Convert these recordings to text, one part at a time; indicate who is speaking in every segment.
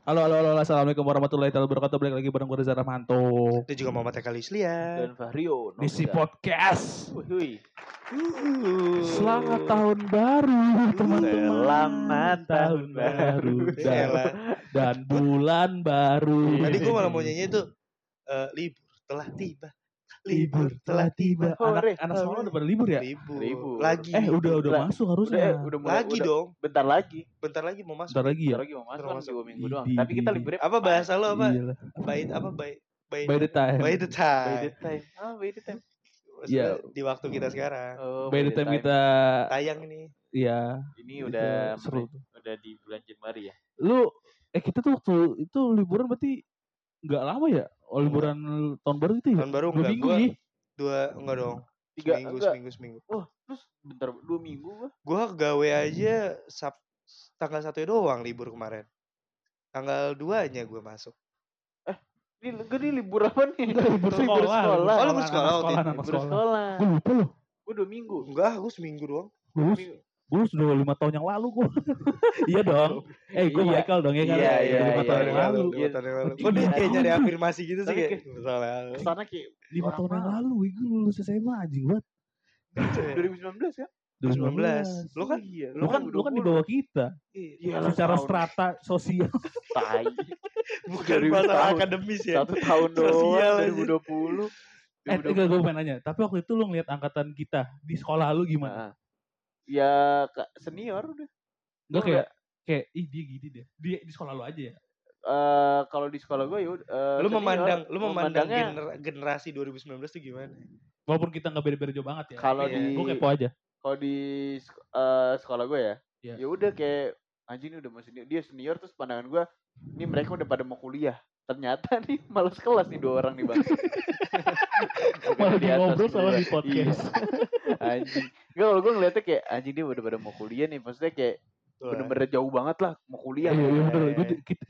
Speaker 1: Halo, halo, halo, assalamualaikum warahmatullahi wabarakatuh. Balik lagi bareng gue Reza Ramanto
Speaker 2: Dan juga Muhammad ya. Eka Lislia.
Speaker 3: dan Vario.
Speaker 1: di si podcast.
Speaker 3: Wuhui.
Speaker 2: Uhuh.
Speaker 1: Selamat tahun baru, teman-teman.
Speaker 3: Selamat tahun baru.
Speaker 1: dan, dan bulan baru.
Speaker 2: Iya, Tadi gue malah mau nyanyi itu eh, libur telah tiba. Libur telah tiba.
Speaker 1: Anak,
Speaker 3: Hore,
Speaker 1: anak
Speaker 3: hore.
Speaker 1: sekolah udah pada libur ya?
Speaker 2: Libur.
Speaker 3: Libur.
Speaker 2: Lagi.
Speaker 1: Eh, udah udah
Speaker 3: Lah,
Speaker 1: masuk
Speaker 3: Udah, eh,
Speaker 1: harusnya.
Speaker 3: udah mulai.
Speaker 2: Lagi
Speaker 3: udah.
Speaker 2: dong.
Speaker 3: Bentar lagi.
Speaker 2: Bentar lagi mau masuk.
Speaker 1: Bentar lagi ya.
Speaker 3: Bentar lagi mau masuk
Speaker 2: Bentar
Speaker 3: kan
Speaker 2: masuk.
Speaker 3: dua minggu
Speaker 1: Idi,
Speaker 3: doang. Tapi kita
Speaker 1: idi.
Speaker 3: liburnya
Speaker 2: Apa bahasa lo apa?
Speaker 1: Gila.
Speaker 2: Bait apa bait bait
Speaker 1: Iya. By the time.
Speaker 2: by the
Speaker 3: By the
Speaker 2: time.
Speaker 3: time. Ah, by the time.
Speaker 2: Maksudnya
Speaker 1: Iya.
Speaker 2: Di waktu kita sekarang.
Speaker 3: Oh,
Speaker 1: By the time kita
Speaker 2: Tayang nih.
Speaker 1: ya
Speaker 3: Ini
Speaker 1: itu
Speaker 3: udah
Speaker 1: seru.
Speaker 3: udah di bulan Januari ya.
Speaker 1: Lu eh kita tuh waktu itu liburan berarti nggak lama ya? Oh, liburan tahun baru itu ya?
Speaker 2: Tahun baru
Speaker 1: Dua
Speaker 2: enggak
Speaker 1: minggu
Speaker 2: gua
Speaker 1: nih.
Speaker 2: dua enggak dong.
Speaker 3: Tiga
Speaker 2: seminggu,
Speaker 3: enggak.
Speaker 2: seminggu, seminggu.
Speaker 3: Terus bentar dua minggu gua.
Speaker 2: Gua gawe aja sab tanggal satu doang libur kemarin. Tanggal 2-nya gue masuk.
Speaker 3: Ini gue ini libur apa nih?
Speaker 1: libur
Speaker 3: libur
Speaker 1: sekolah.
Speaker 3: sekolah.
Speaker 2: Oh, libur sekolah
Speaker 1: Anak
Speaker 2: waktu
Speaker 1: sekolah,
Speaker 2: itu.
Speaker 1: anak
Speaker 3: Libur
Speaker 1: sekolah.
Speaker 3: sekolah.
Speaker 1: Gue lupa loh.
Speaker 3: Gue dua minggu.
Speaker 2: Enggak, gue seminggu doang.
Speaker 1: Lulus, gue sudah lima tahun yang lalu gue. iya dong. Eh gue
Speaker 3: Iya.
Speaker 1: Michael dong ya kan.
Speaker 3: Iya, iya,
Speaker 1: Lima
Speaker 3: iya,
Speaker 1: tahun yang
Speaker 3: iya.
Speaker 1: lalu.
Speaker 2: Dua tahun yang lalu.
Speaker 1: Iya.
Speaker 2: Kok dia kayak nyari afirmasi gitu sih
Speaker 3: Tapi
Speaker 2: kayak.
Speaker 3: kayak-
Speaker 2: Misalnya.
Speaker 3: Kesana kayak
Speaker 1: Lima
Speaker 3: Orang
Speaker 1: tahun yang
Speaker 3: mahal.
Speaker 1: lalu, gue lulus SMA anjing banget.
Speaker 3: 2019 kan?
Speaker 2: 2019. Iya. Lu kan
Speaker 3: Iya.
Speaker 1: lu kan lu kan di bawah kita
Speaker 3: Iya lah,
Speaker 1: secara
Speaker 3: setahun.
Speaker 1: strata sosial
Speaker 3: Tai.
Speaker 2: bukan
Speaker 3: Dari
Speaker 2: masalah
Speaker 3: tahun.
Speaker 2: akademis ya.
Speaker 3: Satu tahun
Speaker 2: Sosial aja.
Speaker 3: doang 2020.
Speaker 1: eh enggak gue pengen nanya tapi waktu itu lu ngeliat angkatan kita di sekolah lu gimana
Speaker 3: Nah, ya Kak, senior udah.
Speaker 1: enggak
Speaker 3: Gua
Speaker 1: kayak kayak ih dia gini deh dia di sekolah lu aja ya
Speaker 3: Eh, kalau di sekolah gue ya udah, eh,
Speaker 2: Lu
Speaker 3: senior.
Speaker 2: memandang lu memandang
Speaker 3: Memandangnya
Speaker 2: gener- generasi 2019 tuh gimana?
Speaker 1: walaupun kita nggak beda-beda jauh banget ya
Speaker 3: kalau
Speaker 2: Iya.
Speaker 3: di
Speaker 1: gue kepo aja
Speaker 3: kalau di sek- eh, sekolah gue ya.
Speaker 1: Iya.
Speaker 3: Ya udah kayak anjing ini udah mau senior, dia senior terus pandangan gue ini mereka udah pada mau kuliah. Ternyata nih malas kelas nih dua orang nih bang.
Speaker 1: malah di ngobrol sama di podcast
Speaker 3: Iya. anjing. Enggak kalau gue ngeliatnya kayak anjing dia udah pada mau kuliah nih. Maksudnya kayak
Speaker 2: Tuh,
Speaker 3: bener-bener jauh banget lah mau
Speaker 1: iya
Speaker 3: kuliah.
Speaker 1: iya
Speaker 2: iya,
Speaker 1: bener
Speaker 2: iya.
Speaker 1: gue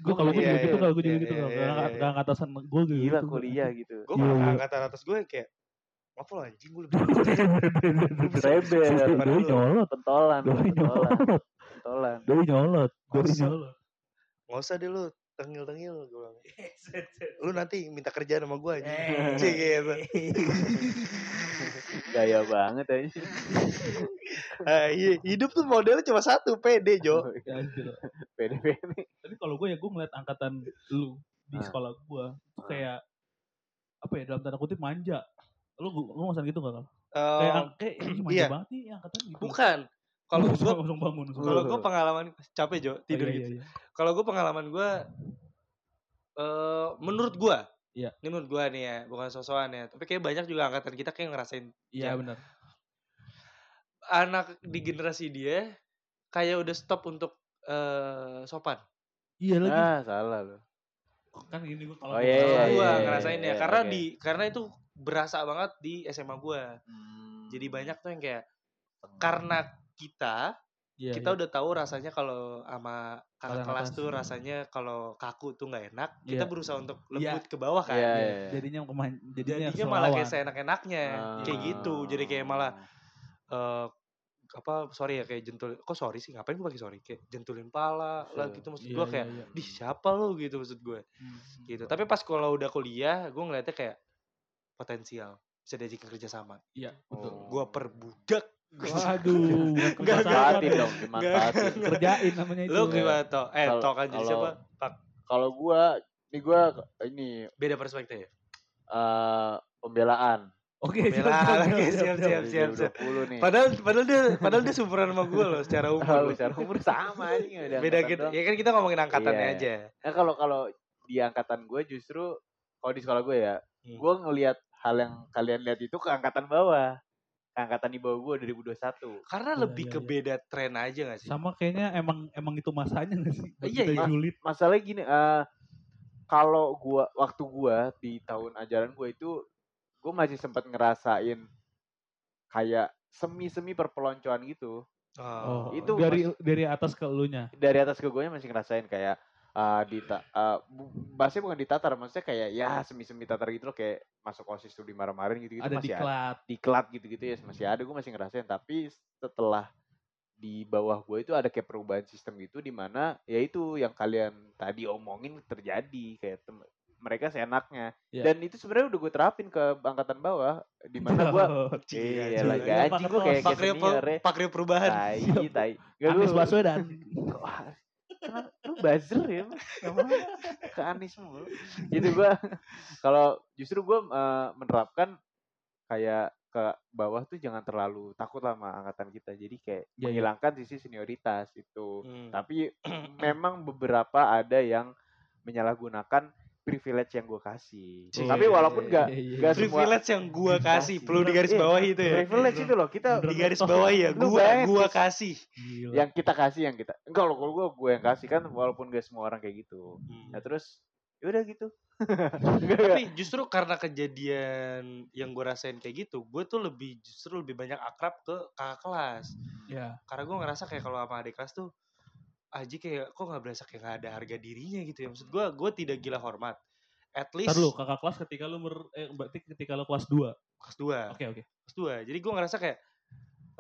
Speaker 1: gue kalau gue
Speaker 2: Iya,
Speaker 1: juga
Speaker 2: iya,
Speaker 1: gitu kalau gue juga
Speaker 2: iya,
Speaker 1: gitu
Speaker 2: iya,
Speaker 1: kalau
Speaker 2: iya, iya.
Speaker 1: nggak atasan gue juga
Speaker 3: Gila
Speaker 1: gitu.
Speaker 3: kuliah gitu.
Speaker 2: Gue
Speaker 1: Iya,
Speaker 2: kalau
Speaker 1: iya.
Speaker 2: angkatan atas gue kayak apa lo anjing gue lebih
Speaker 3: Rebel.
Speaker 2: Depan
Speaker 1: doi
Speaker 2: lu.
Speaker 1: nyolot
Speaker 3: Pentolan,
Speaker 1: doi
Speaker 3: pentolan,
Speaker 1: nyolot
Speaker 3: pentolan.
Speaker 1: doi nyolot doi
Speaker 2: Masa?
Speaker 1: nyolot
Speaker 2: Nggak usah deh lu tengil-tengil gue bilang. Lu nanti minta kerjaan sama gue anjing. Cik gitu.
Speaker 3: Gaya banget ya aja.
Speaker 2: Ah, iya. hidup tuh modelnya cuma satu, pede Jo.
Speaker 1: Ya, anjir.
Speaker 3: Pede-pede.
Speaker 1: tapi kalau gue ya gue ngeliat angkatan lu di
Speaker 3: Ah.
Speaker 1: sekolah gue itu
Speaker 3: Ah.
Speaker 1: kayak apa ya dalam tanda kutip manja lu lu ngerasain gitu gak kayak
Speaker 2: Eh,
Speaker 1: ang- kayak ini manja
Speaker 2: iya.
Speaker 1: banget nih angkatan gitu
Speaker 2: bukan.
Speaker 1: Lu
Speaker 2: Kalau gue
Speaker 1: langsung- langsung bangun langsung
Speaker 2: kalau
Speaker 1: bangun.
Speaker 2: gue pengalaman capek Jo tidur
Speaker 1: Oh, iya,
Speaker 2: gitu.
Speaker 1: iya, iya.
Speaker 2: Kalau gue pengalaman gue eh menurut gue
Speaker 1: Iya.
Speaker 2: Ini menurut gue nih ya, bukan sosokan ya. Tapi kayak banyak juga angkatan kita kayak ngerasain
Speaker 1: iya
Speaker 2: Ya.
Speaker 1: benar
Speaker 2: anak di generasi dia kayak udah stop untuk eh sopan.
Speaker 1: iya lagi
Speaker 3: Ah, salah lo.
Speaker 1: kan gini gue kalau
Speaker 3: Oh,
Speaker 1: gue
Speaker 3: iya,
Speaker 1: salah,
Speaker 2: Kalau
Speaker 3: iya,
Speaker 2: gue
Speaker 3: iya,
Speaker 2: ngerasain
Speaker 3: iya,
Speaker 2: ya, karena
Speaker 3: oke.
Speaker 2: di karena itu berasa banget di SMA gue. Hmm, Jadi banyak tuh yang kayak karena kita
Speaker 1: iya,
Speaker 2: kita
Speaker 1: iya.
Speaker 2: udah tahu rasanya kalau sama kakak
Speaker 1: Orang
Speaker 2: kelas
Speaker 1: atas.
Speaker 2: tuh rasanya kalau kaku tuh nggak enak.
Speaker 1: Iya.
Speaker 2: Kita berusaha untuk
Speaker 1: Iya.
Speaker 2: lembut ke bawah kan.
Speaker 3: Iya,
Speaker 1: Iya,
Speaker 3: iya.
Speaker 1: jadinya keman jadinya,
Speaker 2: Jadinya
Speaker 1: selawan. Iya,
Speaker 2: malah kayak seenak-enaknya
Speaker 3: Ah.
Speaker 2: kayak gitu. Jadi kayak malah eh apa sorry ya kayak jentul kok sorry sih ngapain gue pakai sorry kayak jentulin pala lah
Speaker 3: Iya.
Speaker 2: gitu maksud
Speaker 1: Iya,
Speaker 2: gue
Speaker 1: iya,
Speaker 2: kayak
Speaker 1: iya.
Speaker 2: di siapa lo gitu maksud gue
Speaker 1: Hmm.
Speaker 2: gitu tapi pas kalau udah kuliah gue ngeliatnya kayak potensial bisa diajakin kerja sama
Speaker 1: iya betul
Speaker 3: Oh.
Speaker 2: gue perbudak
Speaker 1: waduh bukan
Speaker 2: Enggak, enggak,
Speaker 3: Dimanfaatin
Speaker 1: kerjaan.
Speaker 3: dong, dimanfaatin.
Speaker 1: kerjain namanya itu ya.
Speaker 2: lo gimana toh eh
Speaker 3: Kalau-
Speaker 2: toh kan jadi
Speaker 3: kalau-
Speaker 2: siapa Pak,
Speaker 3: Kalau gua, ini gua ini
Speaker 2: beda perspektif
Speaker 3: eh pembelaan.
Speaker 1: oke siap,
Speaker 2: Bela,
Speaker 1: siap,
Speaker 2: oke,
Speaker 1: siap, siap.
Speaker 2: Siap, siap, siap.
Speaker 3: 2020 nih.
Speaker 2: padahal padahal dia padahal dia superan sama gue loh secara
Speaker 3: Kalau
Speaker 2: umur loh.
Speaker 3: secara umur sama aja
Speaker 2: beda
Speaker 3: udah. angkatan
Speaker 2: gitu
Speaker 3: doang.
Speaker 2: ya kan kita ngomongin angkatannya
Speaker 3: Iya.
Speaker 2: aja
Speaker 3: Nah, kalau kalau di angkatan gue justru kalau di sekolah gue ya,
Speaker 1: Iya.
Speaker 2: Hmm.
Speaker 3: gue ngelihat hal yang kalian lihat itu ke angkatan bawah. Ke angkatan di bawah gue 2021.
Speaker 2: karena
Speaker 1: Iya,
Speaker 2: lebih
Speaker 1: iya,
Speaker 2: ke
Speaker 1: iya.
Speaker 2: beda tren aja gak sih
Speaker 1: sama kayaknya emang emang itu masanya gak sih buat
Speaker 2: Iya,
Speaker 1: kita
Speaker 2: iya.
Speaker 1: julid
Speaker 3: Masalahnya gini, eh kalau gua waktu gua di tahun ajaran gue itu gue masih sempat ngerasain kayak semi-semi perpeloncoan gitu.
Speaker 2: Oh.
Speaker 3: Itu
Speaker 1: dari dari atas ke elunya
Speaker 3: Dari atas ke gue masih ngerasain kayak eh di ta- eh, bu- bahasanya bukan ditatar, maksudnya kayak ya semi-semi tatar gitu loh kayak masuk OSIS tuh dimarah-marahin gitu-gitu
Speaker 1: ada
Speaker 3: masih
Speaker 1: diklat
Speaker 3: diklat gitu-gitu ya masih ada gue masih ngerasain tapi setelah di bawah gue itu ada kayak perubahan sistem gitu di mana ya itu yang kalian tadi omongin terjadi kayak tem- mereka seenaknya
Speaker 1: Iya.
Speaker 3: dan itu sebenarnya udah gue terapin ke angkatan bawah di mana gue iya
Speaker 1: gila.
Speaker 3: lah gaji gue kayak kayak
Speaker 2: Pakri,
Speaker 3: senior ya
Speaker 2: perubahan.
Speaker 3: tai tai Nggak,
Speaker 1: Anies
Speaker 3: lu-
Speaker 1: Baswedan.
Speaker 3: Wah, kenapa lu buzzer ya Mas? Kenapa ke Anis mulu gitu gua kalau justru gua eh, menerapkan kayak ke bawah tuh jangan terlalu takut lah sama angkatan kita jadi kayak
Speaker 1: Ya, ya.
Speaker 3: menghilangkan sisi senioritas itu
Speaker 2: Iya, Hmm.
Speaker 3: tapi memang beberapa ada yang menyalahgunakan privilege yang gua kasih
Speaker 2: Cie.
Speaker 3: tapi walaupun gak
Speaker 1: Iya, iya.
Speaker 3: nggak semua- Iya,
Speaker 2: Privilege yang gua kasih, perlu digaris bawah itu ya.
Speaker 3: privilege itu loh kita
Speaker 1: Bener.
Speaker 2: Di garis bawah ya,
Speaker 3: Lu
Speaker 2: gua
Speaker 3: bayangin
Speaker 2: gua
Speaker 3: sih.
Speaker 2: kasih.
Speaker 1: Gila.
Speaker 3: yang kita kasih yang kita enggak loh kalau gua gua yang kasih kan walaupun gak semua orang kayak gitu
Speaker 1: Iya.
Speaker 3: Nah terus yaudah gitu. Tapi
Speaker 2: Tapi justru karena kejadian yang gue rasain kayak gitu, gue tuh lebih justru lebih banyak akrab ke kakak kelas.
Speaker 1: Ya.
Speaker 2: Karena gue ngerasa kayak kalau sama adik kelas tuh, Aji kayak kok nggak berasa kayak nggak ada harga dirinya gitu ya. Maksud gue, gue tidak gila hormat. At least
Speaker 1: Ntar lu kakak kelas ketika lu mer, eh, berarti ketika lu kelas 2. Oke,
Speaker 2: kelas 2
Speaker 1: oke.
Speaker 2: kelas dua. Jadi gue ngerasa kayak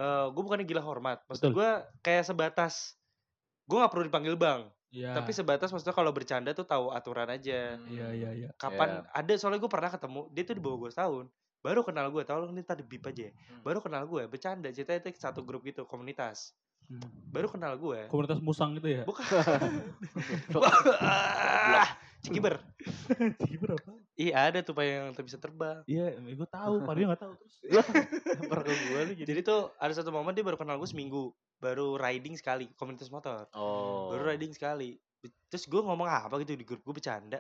Speaker 2: eh gue bukannya gila hormat.
Speaker 1: Betul.
Speaker 2: Maksud gue kayak sebatas gue nggak perlu dipanggil bang.
Speaker 1: Iya.
Speaker 2: Tapi sebatas maksudnya kalau bercanda tuh tahu aturan aja.
Speaker 1: iya iya iya.
Speaker 2: kapan ada soalnya gue pernah ketemu dia tuh di bawah gue setahun baru kenal gue tau lo ini tadi bip aja ya.
Speaker 3: Hmm.
Speaker 2: baru kenal gue bercanda cerita itu satu grup gitu komunitas
Speaker 1: Hmm.
Speaker 2: baru kenal gue
Speaker 1: Komunitas musang gitu ya.
Speaker 2: Ah, cikiber
Speaker 1: Jadi berapa?
Speaker 2: iya ada tuh Pak, yang bisa terbang
Speaker 1: Iya, gue tahu, Pak Rio enggak tahu terus.
Speaker 3: lempar ke gua lu
Speaker 2: jadi tuh ada satu momen dia baru kenal gue seminggu baru riding sekali komunitas motor
Speaker 3: Oh.
Speaker 2: baru riding sekali Be- terus gue ngomong apa gitu di grup gue bercanda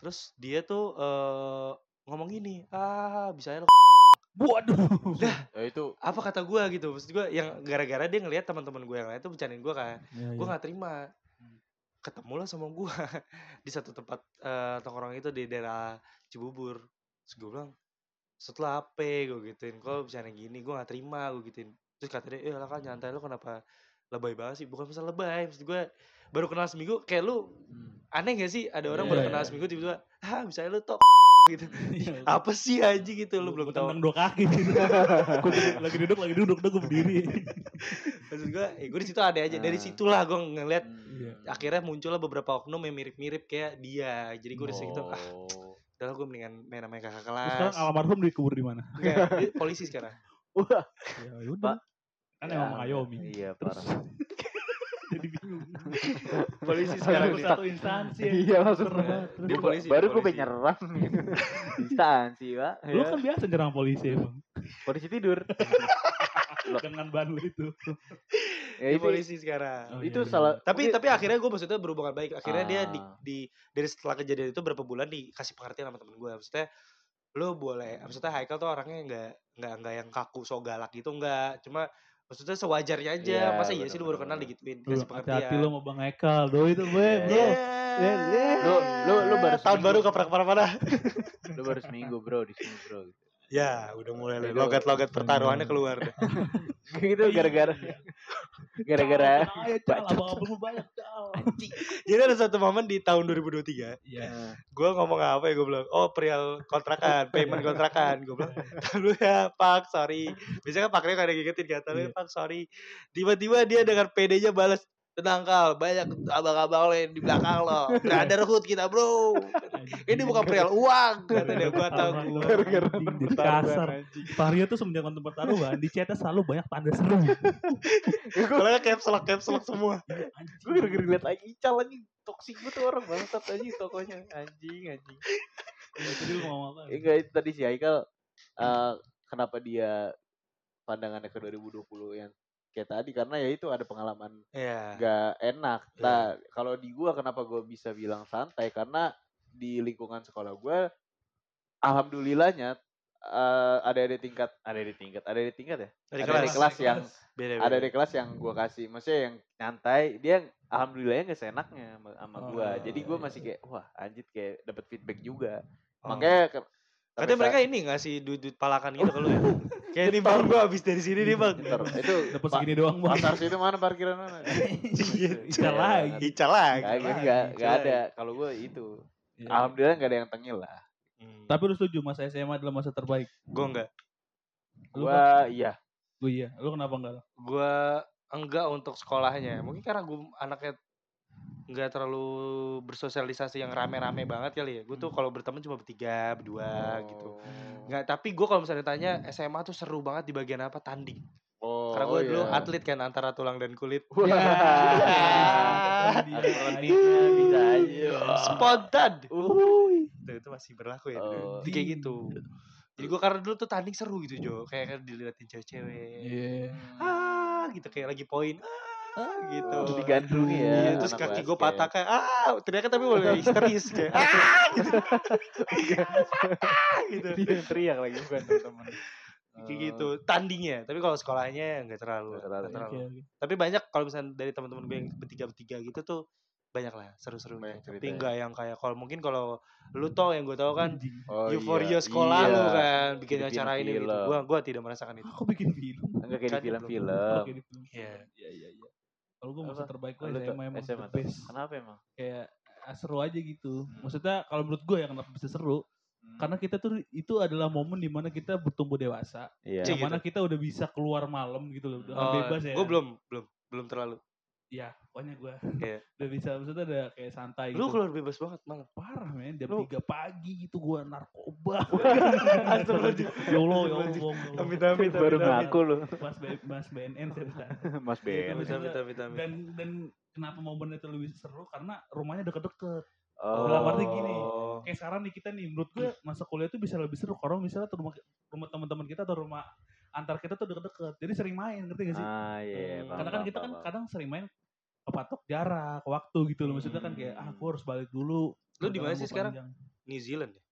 Speaker 2: terus dia tuh eh, ngomong gini ah bisa aja lo
Speaker 1: Waduh.
Speaker 3: Ya itu
Speaker 2: apa kata gue gitu maksud gue yang gara-gara dia ngelihat teman-teman gue yang lain tuh bercandain gue kan
Speaker 1: Iya,
Speaker 2: gue
Speaker 1: iya.
Speaker 2: nggak terima ketemu lah sama gue di satu tempat eh, tongkrong itu di daerah Cibubur terus gue bilang setelah apa gue gituin kok bercanda gini gue nggak terima gue gituin terus kata dia eh lah kan nyantai lu kenapa lebay banget sih bukan masalah lebay maksud gue baru kenal seminggu kayak lu aneh gak sih ada orang
Speaker 3: Iya,
Speaker 2: baru
Speaker 1: iya,
Speaker 2: kenal
Speaker 1: iya.
Speaker 2: seminggu tiba-tiba ah misalnya lu top gitu
Speaker 1: Iya.
Speaker 2: apa sih aja gitu
Speaker 1: Gua-
Speaker 2: lu belum
Speaker 1: gua
Speaker 2: tahu
Speaker 1: tendang dua kaki gitu. Gua duduk- lagi duduk, lagi duduk, udah gue berdiri.
Speaker 2: maksud gue eh, gue di situ ada aja dari
Speaker 1: Nah.
Speaker 3: Ah.
Speaker 2: situlah gue ngeliat
Speaker 1: Iya.
Speaker 3: Hmm.
Speaker 2: akhirnya muncullah beberapa oknum yang mirip-mirip kayak dia jadi gue di situ ah
Speaker 3: Oh.
Speaker 2: Udah gue mendingan main sama yang kakak
Speaker 1: Terus
Speaker 2: kelas.
Speaker 1: sekarang almarhum dikubur di mana?
Speaker 2: Enggak, dia polisi sekarang.
Speaker 3: Wah,
Speaker 1: Ya udah. Kan
Speaker 3: ya,
Speaker 1: emang Mayomi.
Speaker 3: Iya,
Speaker 1: Terus
Speaker 3: parah.
Speaker 1: jadi bingung.
Speaker 2: Polisi
Speaker 3: sekarang
Speaker 1: Satu-
Speaker 3: di-
Speaker 1: satu instansi. ya.
Speaker 3: Iya, langsung
Speaker 1: Serem banget.
Speaker 3: Gua-
Speaker 2: Dia polisi, dia
Speaker 3: Baru gue
Speaker 2: polisi.
Speaker 3: pengen nyerang. Instansi, Pak.
Speaker 1: Lu
Speaker 3: Ya.
Speaker 1: kan biasa nyerang polisi emang.
Speaker 3: Polisi tidur.
Speaker 1: Dengan ban lu itu.
Speaker 2: Dia
Speaker 3: ya, itu,
Speaker 2: polisi sekarang.
Speaker 1: Oh,
Speaker 3: itu
Speaker 1: iya,
Speaker 3: salah.
Speaker 2: Tapi
Speaker 3: mungkin-
Speaker 2: tapi akhirnya gue maksudnya berhubungan baik. Akhirnya dia di,
Speaker 3: Ah.
Speaker 2: di dari setelah kejadian itu berapa bulan dikasih pengertian sama temen gue. Maksudnya lo boleh maksudnya Haikal tuh orangnya nggak nggak nggak yang kaku so galak gitu nggak cuma maksudnya sewajarnya aja
Speaker 3: Iya,
Speaker 2: masa iya sih lu baru kenal
Speaker 3: benar-benar.
Speaker 2: digituin
Speaker 1: Lu
Speaker 2: kasih
Speaker 1: hati-hati
Speaker 2: pengertian
Speaker 1: lo sama Bang Ekal. Do itu gue,
Speaker 2: iya.
Speaker 1: bro.
Speaker 2: Yeah.
Speaker 1: Yeah.
Speaker 3: Lu- lu-
Speaker 1: Iya.
Speaker 3: lu baru
Speaker 2: tahun
Speaker 3: seminggu. Iya.
Speaker 2: baru keprak para mana
Speaker 3: Lu baru seminggu, Bro, di sini, Bro.
Speaker 2: ya udah mulai
Speaker 3: Itu-
Speaker 2: logat logat pertaruhannya keluar deh.
Speaker 3: Gitu gara-gara
Speaker 1: Cal,
Speaker 3: gara-gara
Speaker 1: tenang aja, Cal. Abang-abang lu banyak, Cal.
Speaker 2: jadi ada satu momen di tahun 2023
Speaker 3: Nah.
Speaker 2: gue ngomong apa ya gue bilang oh perihal kontrakan payment kontrakan gue bilang "Tahu lu ya pak sorry biasanya kan pak Rio kadang ngingetin kan "Tahu lu ya pak sorry tiba-tiba dia dengan PD-nya balas tenang kal banyak abang-abang lo yang di belakang lo brotherhood kita bro ini bukan perihal uang kata dia gue tahu
Speaker 1: Pertaruhan,
Speaker 2: gue
Speaker 1: anjing, jadi kasar. Vario tuh semenjak nonton pertaruhan di chatnya selalu banyak tanda seru.
Speaker 2: kalau caps lock caps lock semua
Speaker 3: gue gara-gara liat lagi Ical lagi toksik gue tuh orang bangsat aja tokonya anjing anjing
Speaker 1: Jadi lu mau apa?
Speaker 2: Iya.
Speaker 3: enggak Iya, itu tadi si Haikal eh, kenapa dia pandangannya ke 2020 yang kayak tadi karena ya itu ada pengalaman
Speaker 2: ya
Speaker 3: gak enak nah kalau di gua kenapa gua bisa bilang santai karena di lingkungan sekolah gua alhamdulillahnya eh, ada ada tingkat ada di tingkat ada di tingkat ya
Speaker 2: dari
Speaker 3: Ada
Speaker 2: kelas Iya,
Speaker 3: di kelas yang
Speaker 2: beda
Speaker 3: ada di kelas yang gua kasih maksudnya yang nyantai dia alhamdulillahnya gak seenaknya sama, sama gua
Speaker 1: Oh,
Speaker 3: jadi gua
Speaker 1: iya,
Speaker 3: masih kayak wah anjit kayak dapat feedback juga
Speaker 2: Oh.
Speaker 3: makanya ke-
Speaker 2: katanya
Speaker 3: sampai
Speaker 2: mereka ini ngasih duit-duit palakan gitu kalau ya kayak ini bang gue habis dari sini nih bang
Speaker 3: saat- Ntar, itu
Speaker 1: Dapat
Speaker 3: pa-
Speaker 1: segini doang, Bang.
Speaker 3: pasar situ mana parkiran mana
Speaker 1: Ical lagi.
Speaker 2: Ica Iya. lagi.
Speaker 3: Gak,
Speaker 1: lagi,
Speaker 3: gak, gak
Speaker 2: lagi.
Speaker 3: ada kalau gua itu
Speaker 1: Iya.
Speaker 3: alhamdulillah gak ada yang tengil lah
Speaker 2: Iya.
Speaker 1: Tapi lu setuju masa SMA adalah masa terbaik?
Speaker 2: gue enggak.
Speaker 1: Lu
Speaker 3: gua iya
Speaker 1: Oh Gue iya. Lu kenapa enggak?
Speaker 2: Gue enggak untuk sekolahnya mungkin karena gue anaknya nggak terlalu bersosialisasi yang rame-rame banget kali ya gue
Speaker 3: Hmm.
Speaker 2: tuh kalau berteman cuma bertiga berdua gitu
Speaker 3: Oh.
Speaker 2: nggak tapi gue kalau misalnya tanya SMA tuh seru banget di bagian apa tanding
Speaker 3: Oh,
Speaker 2: karena gue
Speaker 3: iya.
Speaker 2: dulu atlet kan antara tulang dan kulit
Speaker 3: Wah. Akroniknya bisa aja.
Speaker 2: spontan
Speaker 1: Wuih.
Speaker 2: Tuh, itu masih berlaku ya
Speaker 3: Uh. Oh.
Speaker 2: dulu. Jadi kayak gitu jadi gue karena dulu tuh tanding seru gitu Jo kayak kan diliatin cewek-cewek
Speaker 1: Iya.
Speaker 2: ah gitu kayak lagi poin ah gitu
Speaker 3: Terus digandrungi ya.
Speaker 2: Iya, terus
Speaker 3: anak
Speaker 2: kaki gue
Speaker 3: basket.
Speaker 2: patah kayak ah teriaknya tapi boleh histeris kayak ah gitu ah gitu
Speaker 3: Dia yang teriak lagi bukan teman-teman.
Speaker 2: kayak
Speaker 3: Oh.
Speaker 2: gitu tandingnya tapi kalau sekolahnya nggak terlalu
Speaker 3: Nggak terlalu, iya.
Speaker 2: nggak
Speaker 3: Hmm.
Speaker 2: terlalu.
Speaker 1: Oke, oke.
Speaker 2: tapi banyak kalau misalnya dari teman-teman gue yang bertiga bertiga gitu tuh banyak lah seru-seru
Speaker 3: Banyak
Speaker 2: tapi
Speaker 3: ceritanya.
Speaker 2: nggak yang kayak kalau mungkin kalau lu tau yang gue tau kan
Speaker 1: Anjing.
Speaker 3: Oh, iya.
Speaker 2: euforia sekolah
Speaker 3: Iya.
Speaker 2: lu kan bikin
Speaker 3: Bikin
Speaker 2: acara ini gitu
Speaker 3: film.
Speaker 2: gue gua tidak merasakan itu
Speaker 1: Ah, kok bikin film?
Speaker 3: Enggak kayak di
Speaker 2: Kan,
Speaker 3: film-film.
Speaker 1: Oke, di film.
Speaker 2: Iya.
Speaker 1: Iya, iya, iya. Kalau gue
Speaker 3: Apa?
Speaker 1: masa terbaik gue
Speaker 3: Lu tuh
Speaker 1: SMA emang
Speaker 3: SMA
Speaker 1: the
Speaker 3: tuh.
Speaker 1: best.
Speaker 3: Kenapa emang?
Speaker 1: Kayak ah, seru aja gitu. Maksudnya kalau menurut gue ya kenapa bisa seru? Karena kita tuh itu adalah momen dimana kita bertumbuh dewasa.
Speaker 3: Iya.
Speaker 1: Yang
Speaker 2: Cek. gitu.
Speaker 1: mana kita udah bisa keluar malam gitu loh. Udah
Speaker 2: Oh,
Speaker 1: bebas ya.
Speaker 2: gue belum belum belum terlalu
Speaker 1: Iya, pokoknya gue.
Speaker 2: Iya.
Speaker 1: Udah bisa, maksudnya udah kayak santai
Speaker 2: lu
Speaker 1: gitu.
Speaker 2: keluar bebas banget malam
Speaker 1: Parah men, jam
Speaker 2: Lu-
Speaker 1: 3 pagi gitu gue narkoba.
Speaker 2: Astagfirullahaladzim.
Speaker 1: ya Allah, ya Allah. ya Allah.
Speaker 2: amit amit
Speaker 3: Baru
Speaker 2: amit amit
Speaker 3: ngaku lu.
Speaker 1: Mas, B- Mas BNN cerita.
Speaker 3: Mas Ben.
Speaker 2: amit amit amit amit
Speaker 1: Dan dan kenapa momen itu lebih seru karena rumahnya deket-deket.
Speaker 3: Oh.
Speaker 1: Dalam arti gini, Kayak sekarang nih kita nih menurut gue masa kuliah tuh bisa lebih seru kalau misalnya tuh rumah rumah teman-teman kita atau rumah antar kita tuh deket-deket. Jadi sering main, ngerti gak sih?
Speaker 3: Ah, iya.
Speaker 2: Hmm.
Speaker 3: paham,
Speaker 1: Karena kan
Speaker 3: paham,
Speaker 1: kita kan
Speaker 3: paham.
Speaker 1: kadang sering main kepatok jarak, waktu gitu loh. Maksudnya kan kayak ah gue harus balik dulu.
Speaker 2: Lu di mana
Speaker 1: perjalanan
Speaker 2: sih
Speaker 1: gua
Speaker 2: sekarang?
Speaker 1: panjang.
Speaker 2: New Zealand ya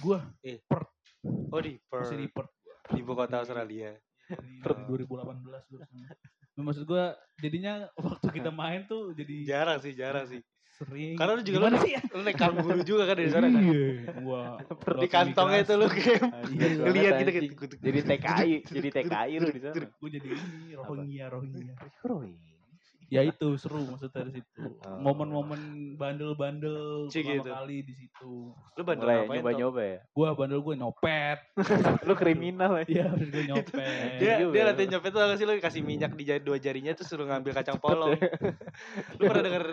Speaker 1: Gua
Speaker 2: eh
Speaker 1: Perth.
Speaker 2: oh di Perth
Speaker 1: masih di Perth.
Speaker 2: di ibu kota Australia
Speaker 1: Di
Speaker 2: Iya.
Speaker 1: 2018 gue kesana. Nah, maksud gue jadinya waktu kita main tuh jadi
Speaker 2: jarang sih jarang sih
Speaker 1: sering.
Speaker 2: Karena lu juga
Speaker 1: Gimana
Speaker 2: lu-
Speaker 1: sih ya?
Speaker 2: lu naik kanguru juga kan dari sana kan
Speaker 1: Iya, gua
Speaker 2: di kantongnya itu lu kayak
Speaker 3: Iya, banget,
Speaker 2: ngeliat gitu
Speaker 3: anjing.
Speaker 2: gitu
Speaker 3: Jadi TKI, jadi TKI lu di sana.
Speaker 1: Gue jadi ini Rohingya, Rohingya.
Speaker 3: Roy.
Speaker 1: Ya itu seru maksudnya dari situ.
Speaker 3: Oh.
Speaker 1: Momen-momen bandel-bandel
Speaker 2: Cik
Speaker 1: pertama
Speaker 2: gitu.
Speaker 1: kali di situ.
Speaker 2: lu bandel
Speaker 3: Mulai
Speaker 2: ngapain Tom?
Speaker 3: nyoba-nyoba ya.
Speaker 1: Gua bandel gue nyopet.
Speaker 3: Lu kriminal ya.
Speaker 1: Iya, terus gue nyopet.
Speaker 2: gitu. dia
Speaker 3: Iya,
Speaker 2: dia
Speaker 3: Bel.
Speaker 2: latihan nyopet tuh tau gak sih lu kasih minyak di jari- dua jarinya tuh suruh ngambil kacang polong lu pernah denger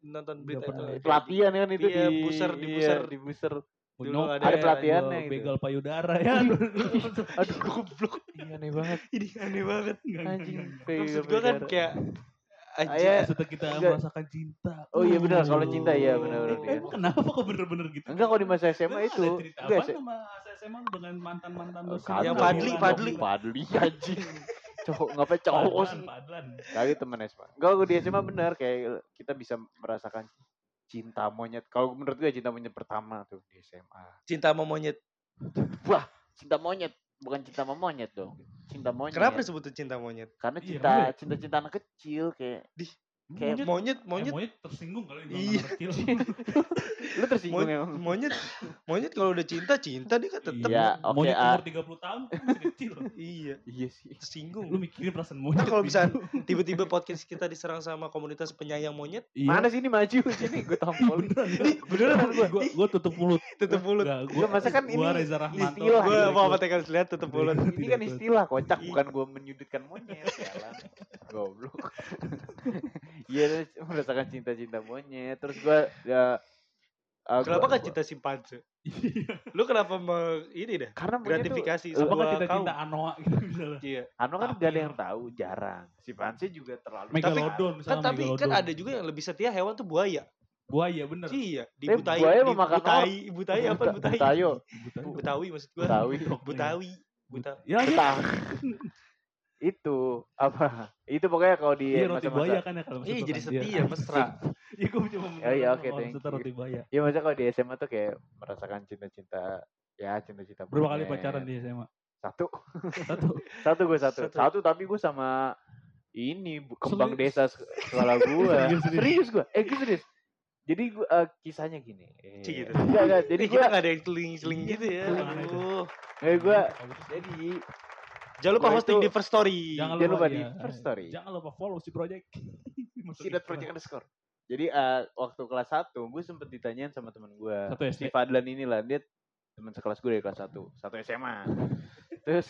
Speaker 2: nonton berita itu
Speaker 1: pernah.
Speaker 2: nggak?
Speaker 3: Pelatihan kan itu
Speaker 2: Iya,
Speaker 3: di
Speaker 2: buser, di
Speaker 3: iya,
Speaker 2: buser.
Speaker 3: di buser.
Speaker 1: Gua
Speaker 2: Dulu
Speaker 1: nyopet,
Speaker 2: ada- ada
Speaker 3: pelatihannya
Speaker 1: gua
Speaker 3: gitu.
Speaker 1: Begal payudara ya.
Speaker 3: Aduh,
Speaker 2: goblok
Speaker 3: iya aneh banget
Speaker 2: ini aneh banget
Speaker 1: Enggak, enggak,
Speaker 3: anjing.
Speaker 1: enggak, enggak.
Speaker 2: maksud
Speaker 3: pegang
Speaker 2: gue kan
Speaker 3: bendera.
Speaker 2: kayak anjing
Speaker 3: Iya.
Speaker 1: Maksudnya kita
Speaker 3: Enggak.
Speaker 1: merasakan cinta.
Speaker 3: Oh iya benar kalau
Speaker 1: Uh.
Speaker 3: cinta iya benar-benar
Speaker 1: Eh,
Speaker 3: dia.
Speaker 1: Emang kenapa kok bener-bener gitu?
Speaker 3: Enggak kalau di masa SMA itu.
Speaker 1: Enggak
Speaker 3: Enggak
Speaker 1: sih.
Speaker 3: sih.
Speaker 1: Sama SMA lu dengan mantan-mantan lu.
Speaker 2: Kagak.
Speaker 1: sendiri.
Speaker 2: Yang Padli,
Speaker 1: Gila,
Speaker 2: Padli.
Speaker 1: gila.
Speaker 3: Padli anjing. Cowok ngapa cowok
Speaker 1: Padlan,
Speaker 3: sih?
Speaker 1: Padlan.
Speaker 3: Lagi teman SMA. Enggak gue di SMA benar kayak kita bisa merasakan cinta monyet. Kalau menurut gue cinta monyet pertama tuh di SMA.
Speaker 2: cinta sama monyet
Speaker 3: Cinta monyet bukan cinta sama monyet dong. Cinta monyet.
Speaker 2: kenapa disebut tuh cinta monyet
Speaker 3: Karena
Speaker 1: Iya,
Speaker 3: cinta
Speaker 1: monyet.
Speaker 3: cinta cinta anak kecil kayak
Speaker 1: Monyet.
Speaker 3: Kayak
Speaker 2: monyet
Speaker 1: Monyet.
Speaker 2: monyet
Speaker 1: monyet tersinggung kalau dibilang
Speaker 2: Iya.
Speaker 1: anak kecil.
Speaker 3: lu tersinggung
Speaker 2: Monyet,
Speaker 3: emang.
Speaker 2: monyet, monyet kalau udah cinta cinta dia kan tetep
Speaker 3: Iya, oke,
Speaker 1: monyet
Speaker 3: ah.
Speaker 1: umur 30 tahun kan masih kecil.
Speaker 2: iya
Speaker 3: Iya sih.
Speaker 1: Lu
Speaker 2: tersinggung
Speaker 1: mikirin perasaan monyet. gitu.
Speaker 2: kalau
Speaker 1: bisa
Speaker 2: bisa-
Speaker 3: Gitu.
Speaker 2: tiba-tiba podcast kita diserang sama komunitas penyayang monyet
Speaker 3: Iya. Mana sih ini maju sini gue
Speaker 2: Iya,
Speaker 3: tampol.
Speaker 1: Iya. Beneran gua gua- gua tutup mulut.
Speaker 2: tetep mulut
Speaker 1: Enggak, gua
Speaker 3: masa kan
Speaker 1: gua
Speaker 3: ini
Speaker 1: Reza Rahmanto.
Speaker 3: istilah. gitu.
Speaker 2: gue
Speaker 1: Gua-
Speaker 2: mau apa tekan lihat tetep mulut
Speaker 3: Ini kan istilah kocak,
Speaker 2: Iya.
Speaker 3: bukan gue menyudutkan monyet. Sialan. Goblok. Iya, terus merasakan cinta-cinta monyet. Terus gue ya eh,
Speaker 2: kenapa
Speaker 3: gua-
Speaker 2: kan cinta simpanse
Speaker 3: Iya.
Speaker 2: lu kenapa mau ini dah
Speaker 3: Karena monyet tuh
Speaker 2: gratifikasi
Speaker 1: Apa kan
Speaker 2: sebuah
Speaker 1: kita
Speaker 2: kaum
Speaker 1: cinta Anoa gitu misalnya.
Speaker 2: iya
Speaker 3: Anu kan
Speaker 1: Tapi-
Speaker 3: gak ada yang tahu, jarang. Si Pansi juga terlalu
Speaker 1: Megalodon
Speaker 2: kan
Speaker 1: misalnya.
Speaker 2: tapi kan
Speaker 1: megalodon.
Speaker 2: ada juga yang lebih setia hewan tuh buaya
Speaker 1: buaya bener.
Speaker 2: iya di
Speaker 3: Eh,
Speaker 2: butai
Speaker 3: buaya
Speaker 2: di
Speaker 3: memakan
Speaker 2: butai butai apa
Speaker 3: Buta-
Speaker 2: butai
Speaker 3: Butayo,
Speaker 1: Buta-
Speaker 2: butawi maksud gua
Speaker 3: Butawi.
Speaker 2: butawi buta
Speaker 1: Ya, ya.
Speaker 3: Betah. Itu apa? Itu pokoknya kalau di
Speaker 1: Iya roti buaya
Speaker 3: masa-masa
Speaker 1: kan ya kalau
Speaker 2: Iya
Speaker 1: maksud
Speaker 2: jadi
Speaker 1: lu kan. Iya.
Speaker 2: setia mesra.
Speaker 1: Iya gue cuma
Speaker 3: Oh, iya,
Speaker 1: menerangkan
Speaker 3: oke,
Speaker 1: kalau
Speaker 3: thank
Speaker 1: maksudnya
Speaker 3: you.
Speaker 1: roti buaya.
Speaker 3: Iya, maksudnya kalau di SMA tuh kayak merasakan cinta-cinta ya cinta-cinta
Speaker 1: Berapa kali
Speaker 3: monyet.
Speaker 1: pacaran di SMA?
Speaker 3: Satu.
Speaker 1: Satu.
Speaker 3: Satu gue satu.
Speaker 2: Satu.
Speaker 3: satu. tapi gue sama ini bu- kembang
Speaker 1: Serius?
Speaker 3: desa sek- sekolah gue.
Speaker 1: Serius, serius.
Speaker 3: serius gue. Eh gue serius. Jadi gua, eh, kisahnya gini. Eh,
Speaker 2: Cik, gitu.
Speaker 3: enggak, enggak. Jadi
Speaker 2: Jadi
Speaker 3: gue
Speaker 2: kita nggak ada yang seling-seling gitu ya.
Speaker 3: Iya.
Speaker 1: Seling.
Speaker 2: Aduh.
Speaker 1: Iya.
Speaker 3: eh, gue jadi
Speaker 2: Jangan lupa
Speaker 3: Gua
Speaker 2: hosting
Speaker 3: itu-
Speaker 2: di First Story.
Speaker 1: Jangan
Speaker 3: jangan lupa
Speaker 1: lupa
Speaker 3: di
Speaker 1: iya.
Speaker 3: first story.
Speaker 1: Jangan lupa follow si project. Masuk
Speaker 3: Sidat
Speaker 1: Instagram.
Speaker 3: project underscore. Jadi eh, waktu kelas 1 gue sempet ditanyain sama teman gue.
Speaker 1: Satu SD.
Speaker 3: Si Fadlan inilah dia teman sekelas gue dari kelas 1. Satu SMA. Terus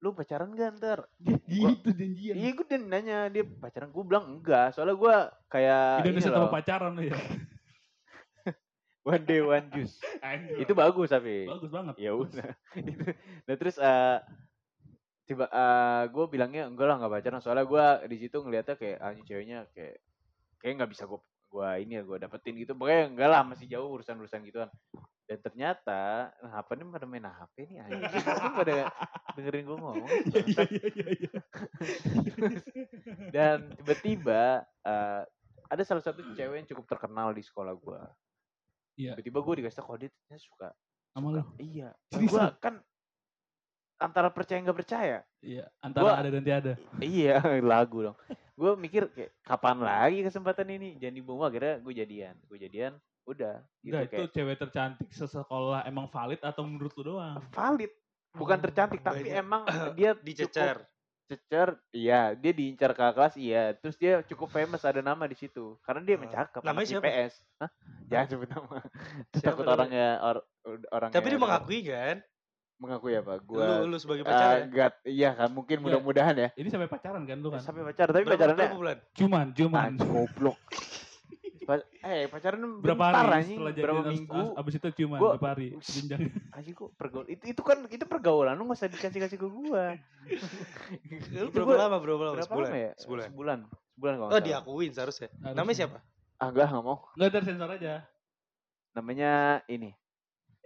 Speaker 3: lu pacaran gak ntar?
Speaker 1: gitu janjian.
Speaker 3: Iya gue udah nanya dia pacaran gue bilang enggak soalnya gue kayak ini
Speaker 1: Indonesia tanpa
Speaker 3: iya loh,
Speaker 1: pacaran lu ya.
Speaker 3: one day one juice
Speaker 1: Anjir.
Speaker 3: itu bagus tapi
Speaker 1: bagus banget.
Speaker 3: ya udah Itu. nah terus eh tiba eh gue bilangnya enggak lah nggak pacaran soalnya gue di situ ngeliatnya kayak anjing ceweknya kayak kayak nggak bisa gue gue ini ya gue dapetin gitu pokoknya enggak lah masih jauh urusan urusan gituan dan ternyata nah apa nih pada main HP nih anjing Lu pada dengerin gue ngomong gitu?
Speaker 1: Iya iya iya iya.
Speaker 3: dan tiba-tiba eh, ada salah satu cewek yang cukup terkenal di sekolah gue
Speaker 1: Iya.
Speaker 3: tiba-tiba gue dikasih tau kalau dia ternyata suka
Speaker 1: Sama lu.
Speaker 3: iya
Speaker 1: Seriusan?
Speaker 3: gue kan antara percaya nggak percaya
Speaker 1: Iya,
Speaker 3: Gua-
Speaker 1: antara ada dan tiada.
Speaker 3: iya lagu dong gue mikir kayak kapan lagi kesempatan ini jangan dibuang akhirnya gue jadian gue jadian udah gitu
Speaker 1: Udah, itu
Speaker 3: kayak
Speaker 1: cewek tercantik sesekolah emang valid atau menurut lu doang?
Speaker 3: valid bukan tercantik
Speaker 2: Oh,
Speaker 3: tapi
Speaker 2: Banyak.
Speaker 3: emang dia
Speaker 2: dicecer
Speaker 3: cukup cecer iya dia diincar kakak kelas iya terus dia cukup famous ada nama di situ karena dia
Speaker 2: Ah.
Speaker 3: mencakap
Speaker 2: Namanya
Speaker 3: anak
Speaker 2: siapa?
Speaker 3: IPS Hah? jangan sebut nama Terus
Speaker 2: Siapa
Speaker 3: takut
Speaker 2: namanya?
Speaker 3: orangnya or, or- orangnya
Speaker 2: tapi dia mengakui kan
Speaker 3: mengakui apa Iya, gua
Speaker 2: lu ya? lu sebagai
Speaker 3: Ah,
Speaker 2: pacar
Speaker 3: enggak, iya kan mungkin
Speaker 1: Iya.
Speaker 3: mudahan-mudahan ya
Speaker 1: Ini sampai pacaran kan lu kan?
Speaker 3: Eh, sampai pacar tapi
Speaker 2: berapa,
Speaker 3: pacarannya
Speaker 2: berapa bulan
Speaker 1: Cuman,
Speaker 3: Ah,
Speaker 1: cuman.
Speaker 3: goblok. Pa- eh, pacaran
Speaker 1: Berapa
Speaker 3: bentar,
Speaker 1: hari
Speaker 3: anjing.
Speaker 1: setelah jadi
Speaker 3: berapa minggu?
Speaker 1: Abis itu cuman
Speaker 3: Gua-
Speaker 1: berapa hari? Jenjang.
Speaker 3: Anjing kok pergaul. Itu, itu kan itu pergaulan lu enggak usah dikasih-kasih ke gua.
Speaker 2: lu
Speaker 3: Itu
Speaker 2: berapa
Speaker 3: gua-
Speaker 2: lama berapa lama Eh,
Speaker 3: Berapa
Speaker 2: oh, sebulan
Speaker 3: lama ya?
Speaker 2: sebulan
Speaker 3: Sebulan. Sebulan kalau
Speaker 2: oh
Speaker 3: nggak salah.
Speaker 2: diakuin seharusnya namanya siapa
Speaker 3: Ah, enggak, enggak mau.
Speaker 1: Enggak ada sensor aja.
Speaker 3: Namanya ini.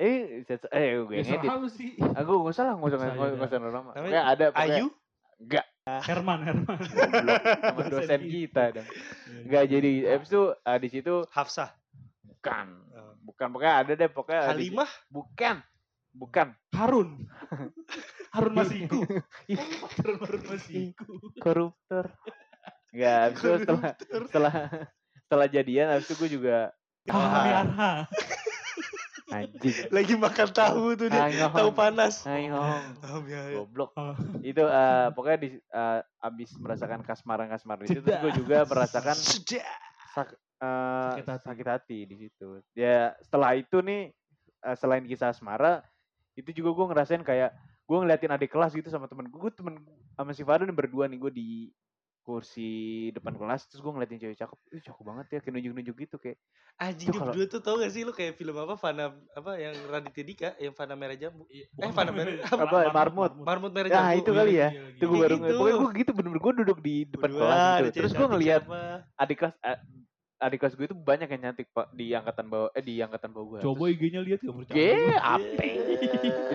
Speaker 3: Eh, set- eh Ah, gue
Speaker 1: Ya
Speaker 3: yang edit.
Speaker 1: serah lu sih.
Speaker 3: Aku enggak usah lah, enggak usah
Speaker 1: Saya
Speaker 3: enggak
Speaker 1: udah.
Speaker 3: usah nama.
Speaker 2: Namanya
Speaker 3: Pokoknya ada pokoknya-
Speaker 2: Ayu
Speaker 3: Enggak,
Speaker 1: Herman, Herman.
Speaker 3: goblok. Sama
Speaker 1: Dosen
Speaker 3: dosen
Speaker 1: kita.
Speaker 3: kita dong. Enggak jadi abis itu ah, di situ
Speaker 2: Hafsah
Speaker 3: bukan.
Speaker 2: Oh.
Speaker 3: Bukan pokoknya ada deh pokoknya ah, di-
Speaker 2: Halimah
Speaker 3: Bukan. Bukan.
Speaker 1: Harun.
Speaker 3: Iya.
Speaker 1: Harun Masiku. Harun Harun Masiku.
Speaker 3: koruptor. Enggak, abis itu setelah setelah setelah jadian abis itu gue juga
Speaker 1: Ah,
Speaker 3: Ah.
Speaker 1: Arha.
Speaker 3: anjing.
Speaker 2: lagi makan tahu tuh dia
Speaker 3: Ayo,
Speaker 2: tahu panas
Speaker 3: ayo,
Speaker 2: Oh, biar-
Speaker 3: goblok.
Speaker 1: Ah.
Speaker 3: Itu eh, pokoknya di eh, abis merasakan kasmaran-kasmaran di situ, terus gue juga merasakan
Speaker 2: Sudah.
Speaker 3: sak- eh,
Speaker 1: Sakit hati.
Speaker 3: sakit hati di situ. Ya setelah itu nih eh, selain kisah asmara itu juga gue ngerasain kayak gue ngeliatin adik kelas gitu sama temen gue, gue temen sama si Farhan berdua nih gue di kursi depan kelas terus gue ngeliatin cewek cakep, ih cakep banget ya, kayak nunjuk-nunjuk gitu kayak
Speaker 2: Anjing
Speaker 3: Itu
Speaker 2: dia
Speaker 3: kalau-
Speaker 2: berdua tuh tau gak sih lu kayak film apa Fana apa yang Raditya Dika yang Fana Merah Jambu
Speaker 1: Bukan
Speaker 2: Fana
Speaker 1: Fana
Speaker 2: Merah.
Speaker 1: Merah.
Speaker 3: Apa, Marmut?
Speaker 2: Marmut Merah
Speaker 3: Ya,
Speaker 2: Jambu
Speaker 3: itu kali ya.
Speaker 1: Iya,
Speaker 3: Itu gue baru
Speaker 2: Gitu.
Speaker 3: nge- Pokoknya gue gitu bener-bener gue duduk di depan
Speaker 2: Berdua,
Speaker 3: kelas
Speaker 2: ada
Speaker 3: gitu.
Speaker 2: cewek
Speaker 3: Terus gue
Speaker 2: cantik
Speaker 3: ngeliat
Speaker 2: siapa.
Speaker 3: adik kelas a- adik kelas gue itu banyak yang cantik pak di angkatan bawah eh di angkatan bawah gue.
Speaker 1: Coba gitu. IG-nya lihat ya, gak percaya.
Speaker 3: Ye, ape.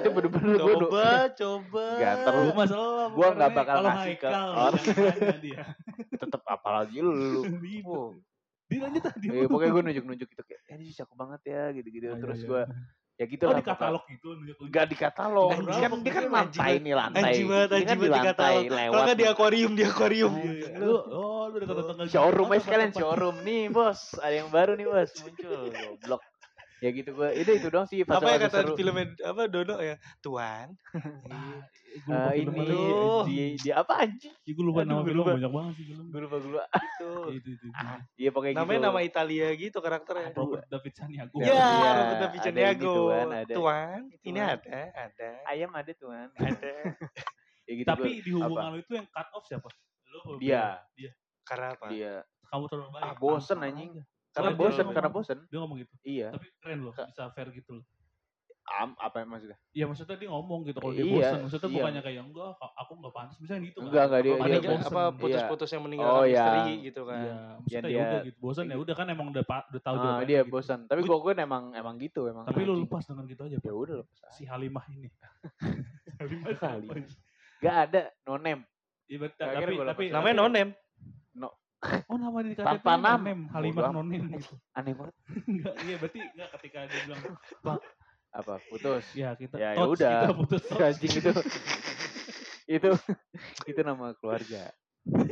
Speaker 3: itu bener-bener gue
Speaker 2: Coba coba
Speaker 3: Gantar
Speaker 1: Lu
Speaker 3: lu.
Speaker 1: masalah
Speaker 3: Gua nggak
Speaker 1: bukan,
Speaker 3: bakal
Speaker 1: kalau
Speaker 3: ngasih ke
Speaker 1: Haikal,
Speaker 3: orang.
Speaker 1: jangan dia.
Speaker 3: tetep apalagi lu.
Speaker 2: Gitu.
Speaker 1: Ribet.
Speaker 3: Wow.
Speaker 1: Dilanjut tadi.
Speaker 3: Eh, pokoknya gue nunjuk-nunjuk gitu kayak, eh ini cakep banget ya
Speaker 2: Oh,
Speaker 3: gitu-gitu.
Speaker 1: Ah, iya,
Speaker 3: Terus
Speaker 1: iya.
Speaker 3: gue ya gitu
Speaker 1: Oh
Speaker 3: lah.
Speaker 1: di katalog gitu nunjuk-nunjuk.
Speaker 3: Gak di katalog.
Speaker 2: Anjing.
Speaker 3: Dia kan, dia kan
Speaker 2: Anjing
Speaker 3: lantai
Speaker 2: banget,
Speaker 3: nih lantai.
Speaker 2: Anjing banget
Speaker 3: Dia
Speaker 2: anjing
Speaker 3: kan di
Speaker 2: banget
Speaker 3: lantai
Speaker 2: dikatakan Kalau
Speaker 3: lewat.
Speaker 2: gak di akuarium di akuarium
Speaker 3: Anjing.
Speaker 1: Iya, Lu oh lu udah tanggal
Speaker 3: showroom aja sekalian showroom nih bos ada yang baru nih bos muncul goblok ya gitu gue itu itu doang sih
Speaker 2: Apa yang
Speaker 3: fase-fase
Speaker 2: kata
Speaker 3: seru.
Speaker 2: filmnya apa Dono ya Tuan
Speaker 3: Eh, ini
Speaker 2: Aduh.
Speaker 3: di, di apa anjing
Speaker 1: gue lupa nama
Speaker 3: Aduh, gua
Speaker 1: film
Speaker 3: lupa.
Speaker 1: banyak banget sih film.
Speaker 3: gue lupa gue lupa itu
Speaker 1: Itu itu. itu.
Speaker 3: iya pokoknya
Speaker 2: gitu. Namanya
Speaker 3: gitu
Speaker 2: nama Italia gitu karakternya
Speaker 1: Robert David Sanyago.
Speaker 3: Iya,
Speaker 2: Ya,
Speaker 3: iya,
Speaker 2: Robert David
Speaker 3: ada
Speaker 2: Santiago.
Speaker 3: gituan, ada. gitu kan.
Speaker 2: Tuan, ini
Speaker 3: Tuan.
Speaker 2: ada, ada,
Speaker 3: ayam ada tuan
Speaker 2: ada.
Speaker 3: ya gitu
Speaker 1: Tapi
Speaker 3: gua.
Speaker 1: di hubungan lu itu yang cut off siapa? Lu oh,
Speaker 3: dia
Speaker 2: Karena apa?
Speaker 3: dia
Speaker 1: Kamu terlalu baik.
Speaker 3: iya. Ah, bosen,
Speaker 1: Sama
Speaker 3: anjing.
Speaker 1: aja. Soalnya
Speaker 3: karena
Speaker 1: dia
Speaker 3: bosen
Speaker 1: ngomong-
Speaker 3: karena bosen
Speaker 1: Dia ngomong gitu.
Speaker 3: iya
Speaker 1: Tapi keren loh, bisa fair gitu loh.
Speaker 3: Am, apa yang maksudnya
Speaker 1: Iya maksudnya dia ngomong gitu kalau dia
Speaker 3: Iya,
Speaker 1: bosen. Maksudnya
Speaker 3: iya.
Speaker 1: bukannya kayak enggak, aku enggak pantas misalnya gitu.
Speaker 3: Enggak, enggak, dia-
Speaker 1: Apa
Speaker 3: dia
Speaker 2: Meninggal-
Speaker 1: bosen.
Speaker 2: apa putus-putus yang meninggal
Speaker 3: Oh, iya.
Speaker 2: misteri gitu kan.
Speaker 1: Iya,
Speaker 3: Yang
Speaker 1: maksudnya ya
Speaker 3: dia- iya.
Speaker 1: udah gitu. Bosan ya udah kan emang udah pa- udah tahu
Speaker 3: Ah,
Speaker 1: jawabannya
Speaker 3: dia
Speaker 1: gitu.
Speaker 3: bosen tapi
Speaker 1: Gua-
Speaker 3: gue gue emang emang gitu emang
Speaker 1: Tapi lu
Speaker 3: anjing.
Speaker 1: lepas dengan gitu aja, Pak.
Speaker 3: ya udah lepas aja.
Speaker 1: Si Halimah ini. Halimah
Speaker 3: Halimah.
Speaker 1: siapa?
Speaker 3: gak ada no name
Speaker 1: Iya, bet-
Speaker 3: Akhirnya
Speaker 1: tapi
Speaker 3: gua lepas.
Speaker 1: tapi
Speaker 2: Namanya
Speaker 1: tapi-
Speaker 2: nonem.
Speaker 1: Oh, nama di KTP
Speaker 3: Tanpa nama.
Speaker 1: Halimah
Speaker 3: Bodoh.
Speaker 1: nonem gitu.
Speaker 3: aneh banget
Speaker 1: Enggak, iya berarti enggak ketika dia bilang,
Speaker 3: apa putus
Speaker 1: "Ya, kita
Speaker 3: Ya,
Speaker 1: tots,
Speaker 3: yaudah.
Speaker 1: kita putus." tots."
Speaker 3: anjing itu itu itu nama keluarga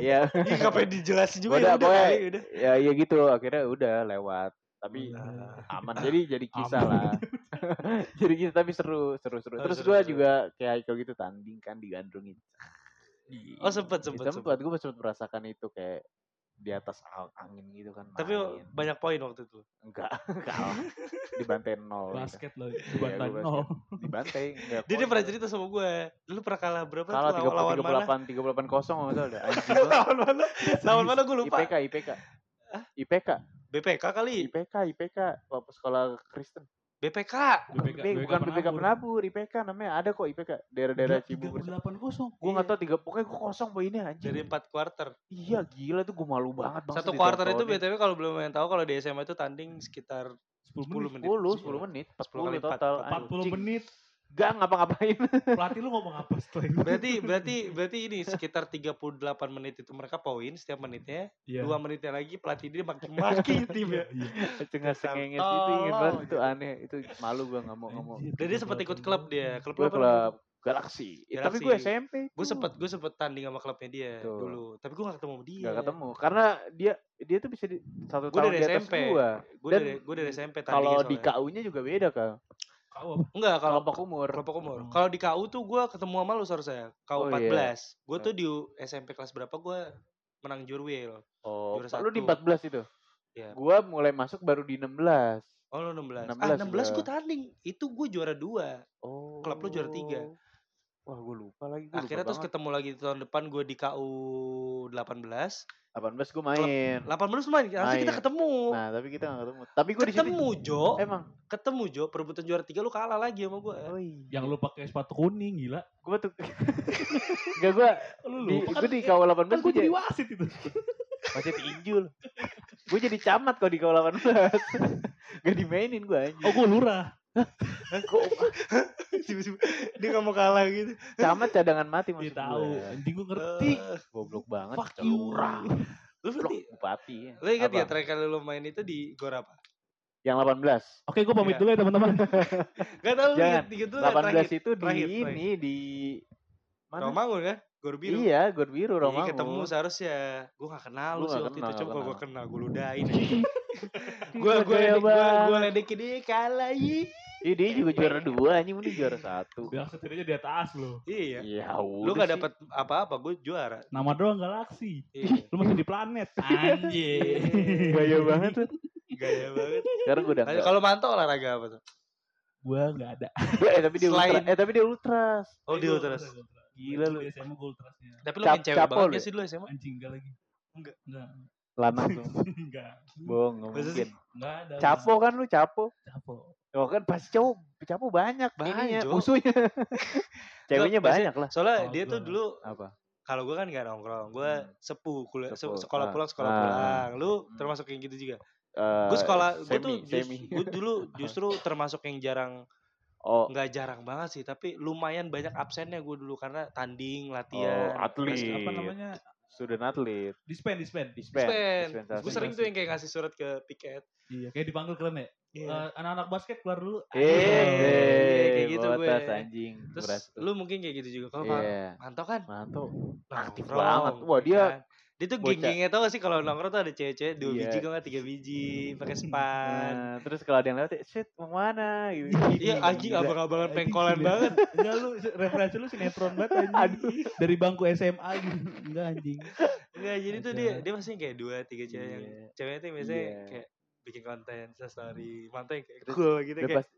Speaker 3: ya
Speaker 2: Ih, ngapain dijelasin juga
Speaker 3: Udah,
Speaker 2: ya udah
Speaker 3: pokoknya-
Speaker 2: kali udah.
Speaker 3: ya ya gitu akhirnya udah lewat tapi
Speaker 1: Udah.
Speaker 3: aman jadi jadi kisah
Speaker 1: Aman.
Speaker 3: lah jadi kisah tapi seru seru seru
Speaker 2: Oh,
Speaker 3: terus
Speaker 2: seru,
Speaker 3: gue
Speaker 2: seru.
Speaker 3: juga kayak Haikal gitu tanding kan digandrungin
Speaker 2: Oh, sempet, sempet,
Speaker 3: sempet gue sempet merasakan itu kayak di atas ang- angin gitu kan.
Speaker 2: Tapi
Speaker 3: main.
Speaker 2: banyak poin waktu itu.
Speaker 3: enggak kalah. Dibantai nol. gitu.
Speaker 1: basket loh bantai
Speaker 3: gua
Speaker 1: nol
Speaker 3: Dibantai enggak.
Speaker 2: Dia, dia
Speaker 3: poin.
Speaker 2: pernah cerita sama gue. Lu pernah kalah berapa?
Speaker 3: kalah
Speaker 2: tuh lawan- lawan mana?
Speaker 3: 38 38 kosong enggak salah udah. Anjing banget.
Speaker 2: lawan mana? Lawan mana gue lupa.
Speaker 3: IPK IPK. IPK,
Speaker 2: BPK kali.
Speaker 3: IPK, IPK, Bapak sekolah Kristen.
Speaker 2: BPK.
Speaker 1: BPK,
Speaker 3: IPK, bukan BPK penabur, IPK namanya ada kok IPK daerah-daerah Cibubur.
Speaker 1: delapan kosong
Speaker 3: Gue nggak tahu tiga pokoknya gue kosong poinnya anjir.
Speaker 2: Dari 4 quarter.
Speaker 3: Iya gila tuh gue malu banget bang.
Speaker 2: Satu quarter itu BTW kalau belum yang tahu kalau di SMA itu tanding sekitar
Speaker 1: 10
Speaker 2: 10
Speaker 1: menit
Speaker 2: menit.
Speaker 3: 10, 10 menit,
Speaker 2: 10
Speaker 3: 10
Speaker 2: kali
Speaker 3: total.
Speaker 1: 40
Speaker 3: anjing.
Speaker 1: menit
Speaker 3: Gak ngapa-ngapain.
Speaker 1: pelatih lu ngomong apa setelah itu
Speaker 2: Berarti berarti berarti ini sekitar 38 menit itu mereka poin setiap menitnya.
Speaker 1: Iya.
Speaker 2: Dua ya. menitnya lagi pelatih dia maki-maki
Speaker 1: Iya,
Speaker 2: timnya.
Speaker 1: iya.
Speaker 3: Cengah sengenges itu
Speaker 2: Tolong,
Speaker 3: ingin gitu, banget itu aneh. Itu malu gue gak mau ngomong.
Speaker 1: Anjir,
Speaker 2: Dan dia sempat ikut klub dia. Klub
Speaker 3: Gue
Speaker 2: apa namanya?
Speaker 3: klub Galaxy. Eh, Tapi
Speaker 2: Galaxy.
Speaker 3: gue SMP.
Speaker 2: Gue
Speaker 3: tuh.
Speaker 2: sempet gue sempet tanding sama klubnya dia
Speaker 3: Tuh.
Speaker 2: dulu. Tapi gue gak ketemu sama dia.
Speaker 3: Gak ketemu. Karena dia dia tuh bisa di, satu
Speaker 2: Iya. Gua
Speaker 3: tahun
Speaker 2: dari
Speaker 3: di atas
Speaker 2: SMP.
Speaker 3: gue.
Speaker 2: Gue
Speaker 3: Dan
Speaker 2: dari gue dari SMP tandingnya
Speaker 3: Kalau di
Speaker 2: kan soalnya.
Speaker 3: KU-nya juga beda kan.
Speaker 1: Kau apa?
Speaker 2: Enggak kalau
Speaker 3: Kelompok umur.
Speaker 2: kelompok umur.
Speaker 1: Hmm.
Speaker 2: Kalau di KU tuh gue ketemu sama lu seharusnya. KU
Speaker 3: Oh,
Speaker 2: 14.
Speaker 3: iya.
Speaker 2: Gue tuh di U- SMP kelas berapa gue menang jurwil.
Speaker 3: Oh,
Speaker 2: Juara
Speaker 3: lu di
Speaker 2: satu.
Speaker 3: 14 itu?
Speaker 2: Iya.
Speaker 3: Gua mulai masuk baru di 16.
Speaker 2: Oh lu 16.
Speaker 3: 16
Speaker 2: ah 16 gue
Speaker 3: gua.
Speaker 2: tanding. Itu gue juara dua.
Speaker 3: Oh.
Speaker 2: Klub lu juara tiga.
Speaker 3: Wah, gue lupa lagi. Gua
Speaker 2: Akhirnya terus
Speaker 3: lupa
Speaker 2: ketemu lagi tahun depan gue di KU 18. 18
Speaker 3: banget. 18 gue main.
Speaker 2: menit main. Harusnya kita
Speaker 3: Main.
Speaker 2: ketemu.
Speaker 3: Nah, tapi kita gak ketemu. Tapi gue di Eh. sini.
Speaker 2: ketemu Jo.
Speaker 3: Emang.
Speaker 2: Ketemu Jo. Perebutan juara tiga lu kalah lagi sama gue. iya.
Speaker 1: yang lu pakai sepatu kuning gila
Speaker 3: Gue tuh. Gak gue.
Speaker 2: Eh,
Speaker 1: lu
Speaker 3: Di,
Speaker 1: lupa
Speaker 3: gue di kawal 18
Speaker 1: kan
Speaker 3: gue
Speaker 1: gue
Speaker 3: jadi.
Speaker 1: jadi wasit itu
Speaker 3: Masih tinjul. gue jadi camat kok di kawal 18. gak dimainin gue anjing.
Speaker 1: oh gue lurah
Speaker 3: Kok
Speaker 2: Tiba-tiba Dia gak mau kalah gitu.
Speaker 3: camat cadangan
Speaker 1: dia
Speaker 3: mati maksud
Speaker 1: tahu
Speaker 3: gua. ya.
Speaker 1: anjing gue ngerti
Speaker 2: Eh,
Speaker 3: Goblok banget.
Speaker 1: fuck you
Speaker 3: Orang.
Speaker 2: Lu
Speaker 3: Blok
Speaker 2: berarti
Speaker 3: bupati.
Speaker 2: Lu ingat ya
Speaker 3: Abang.
Speaker 2: terakhir kali lu main itu di gor apa?
Speaker 3: Yang 18.
Speaker 1: oke gue pamit
Speaker 2: Iya.
Speaker 1: dulu ya teman-teman
Speaker 2: Gak tau lu
Speaker 3: Jangan.
Speaker 2: ingat gitu kan
Speaker 3: 18 itu di
Speaker 2: terakhir, terakhir.
Speaker 3: ini di mana?
Speaker 2: Romangun kan? Gor biru.
Speaker 3: Iya, Gor Biru
Speaker 2: Iya,
Speaker 3: Romangun.
Speaker 2: ketemu seharusnya. Gue gak kenal lu
Speaker 3: Lu
Speaker 2: sih
Speaker 3: gak
Speaker 2: waktu itu.
Speaker 3: kenal,
Speaker 2: Coba
Speaker 3: gak
Speaker 2: kalau gue kenal, gue ludahin.
Speaker 3: Ih,
Speaker 2: Gue gue
Speaker 3: gaya
Speaker 2: gue
Speaker 3: banget.
Speaker 2: ledekin dia kalah yi.
Speaker 3: Ih, dia juga juara dua, anjing ini juara satu.
Speaker 1: bilang setidaknya di atas lo
Speaker 2: Iya.
Speaker 3: Iya,
Speaker 2: Lu gak
Speaker 3: udah sih.
Speaker 2: dapet apa-apa, gue juara.
Speaker 1: nama doang galaksi
Speaker 2: Iya.
Speaker 1: lu masih di planet anjir
Speaker 3: Gaya banget tuh.
Speaker 2: Gaya banget.
Speaker 3: Sekarang gue udah
Speaker 2: Nah,
Speaker 3: enggak.
Speaker 2: Kalau mantau olahraga apa tuh?
Speaker 1: gue nggak ada
Speaker 3: eh tapi dia
Speaker 2: Selain-
Speaker 3: ultra. Eh tapi dia ultras.
Speaker 2: Oh, di ultras.
Speaker 3: Gila lu.
Speaker 1: SMA gue ultrasnya
Speaker 2: Tapi lu
Speaker 3: Cap- ya?
Speaker 2: main cewek
Speaker 3: capo
Speaker 2: banget
Speaker 3: lu
Speaker 2: gak sih dulu SMA?
Speaker 1: anjing enggak lagi
Speaker 2: Enggak.
Speaker 1: enggak
Speaker 3: Lanang tuh.
Speaker 1: enggak
Speaker 3: Bohong, nggak
Speaker 2: Masa
Speaker 3: mungkin.
Speaker 2: sih?
Speaker 1: enggak ada
Speaker 3: Capo kan lu capo.
Speaker 1: capo
Speaker 3: Oh kan pasti cowok capo banyak ininya,
Speaker 2: Banyak, Iya, Jo.
Speaker 3: musuhnya. Ceweknya
Speaker 2: Nggak,
Speaker 3: banyak
Speaker 2: Nah,
Speaker 3: lah.
Speaker 2: Soalnya
Speaker 1: Oh,
Speaker 2: dia
Speaker 1: gua
Speaker 2: tuh
Speaker 1: nggak.
Speaker 2: dulu
Speaker 3: Apa?
Speaker 2: kalau gue kan gak nongkrong, gue
Speaker 3: Hmm.
Speaker 2: sepuh, kuliah, se-
Speaker 3: Sepuh,
Speaker 2: sekolah
Speaker 3: ah.
Speaker 2: pulang sekolah
Speaker 3: Ah.
Speaker 2: pulang. Lu
Speaker 3: Hmm.
Speaker 2: termasuk yang gitu juga.
Speaker 3: Eh,
Speaker 2: Gue sekolah, gue
Speaker 3: semi,
Speaker 2: tuh just-
Speaker 3: semi.
Speaker 2: gua dulu justru termasuk yang jarang
Speaker 3: Oh,
Speaker 2: nggak jarang banget sih tapi lumayan banyak absennya gue dulu karena tanding
Speaker 3: oh,
Speaker 2: latihan
Speaker 1: Terus
Speaker 3: atlet.
Speaker 1: apa namanya
Speaker 3: Student atlet.
Speaker 1: dispen dispen
Speaker 3: Dispen.
Speaker 2: dispen gue
Speaker 3: dispensasi.
Speaker 2: sering tuh yang kayak ngasih surat ke piket
Speaker 1: iya kayak dipanggil keren ya Eh, anak-anak basket keluar dulu
Speaker 2: Iya,
Speaker 3: Eh,
Speaker 2: kayak
Speaker 3: kayak
Speaker 2: gitu
Speaker 3: gitu
Speaker 2: gue.
Speaker 3: anjing.
Speaker 2: terus
Speaker 3: beras tuh.
Speaker 2: lu mungkin kayak gitu juga kalau yeah.
Speaker 3: Iya.
Speaker 2: mantau kan
Speaker 3: Mantap. Aktif
Speaker 2: nongkrong,
Speaker 3: banget. Wah,
Speaker 2: ya
Speaker 3: dia
Speaker 2: kan? dia tuh
Speaker 3: bocah.
Speaker 2: geng-gengnya tau gak sih kalau nongkrong tuh ada cewek-cewek dua
Speaker 3: Iya.
Speaker 2: biji kalau nggak tiga biji pakai span
Speaker 3: Nah, terus kalau ada yang lewat, shit, mau mana? Gitu.
Speaker 2: Kan. iya anjing
Speaker 3: Gila.
Speaker 2: abang-abangan
Speaker 1: Anjing,
Speaker 2: pengkolan
Speaker 1: gila.
Speaker 2: banget
Speaker 1: Enggak lu referensi lu sinetron banget anjing.
Speaker 3: Aduh.
Speaker 1: Dari bangku SMA gitu. Enggak anjing.
Speaker 2: Enggak, Iya, jadi tuh
Speaker 1: Ada.
Speaker 2: dia dia masih kayak dua tiga cewek yang
Speaker 3: Iya.
Speaker 2: ceweknya tuh biasanya
Speaker 3: Iya. Hmm.
Speaker 2: kayak bikin konten story mantau yang kayak
Speaker 3: Terus
Speaker 2: cool gitu
Speaker 3: Udah
Speaker 2: kayak
Speaker 3: pasti,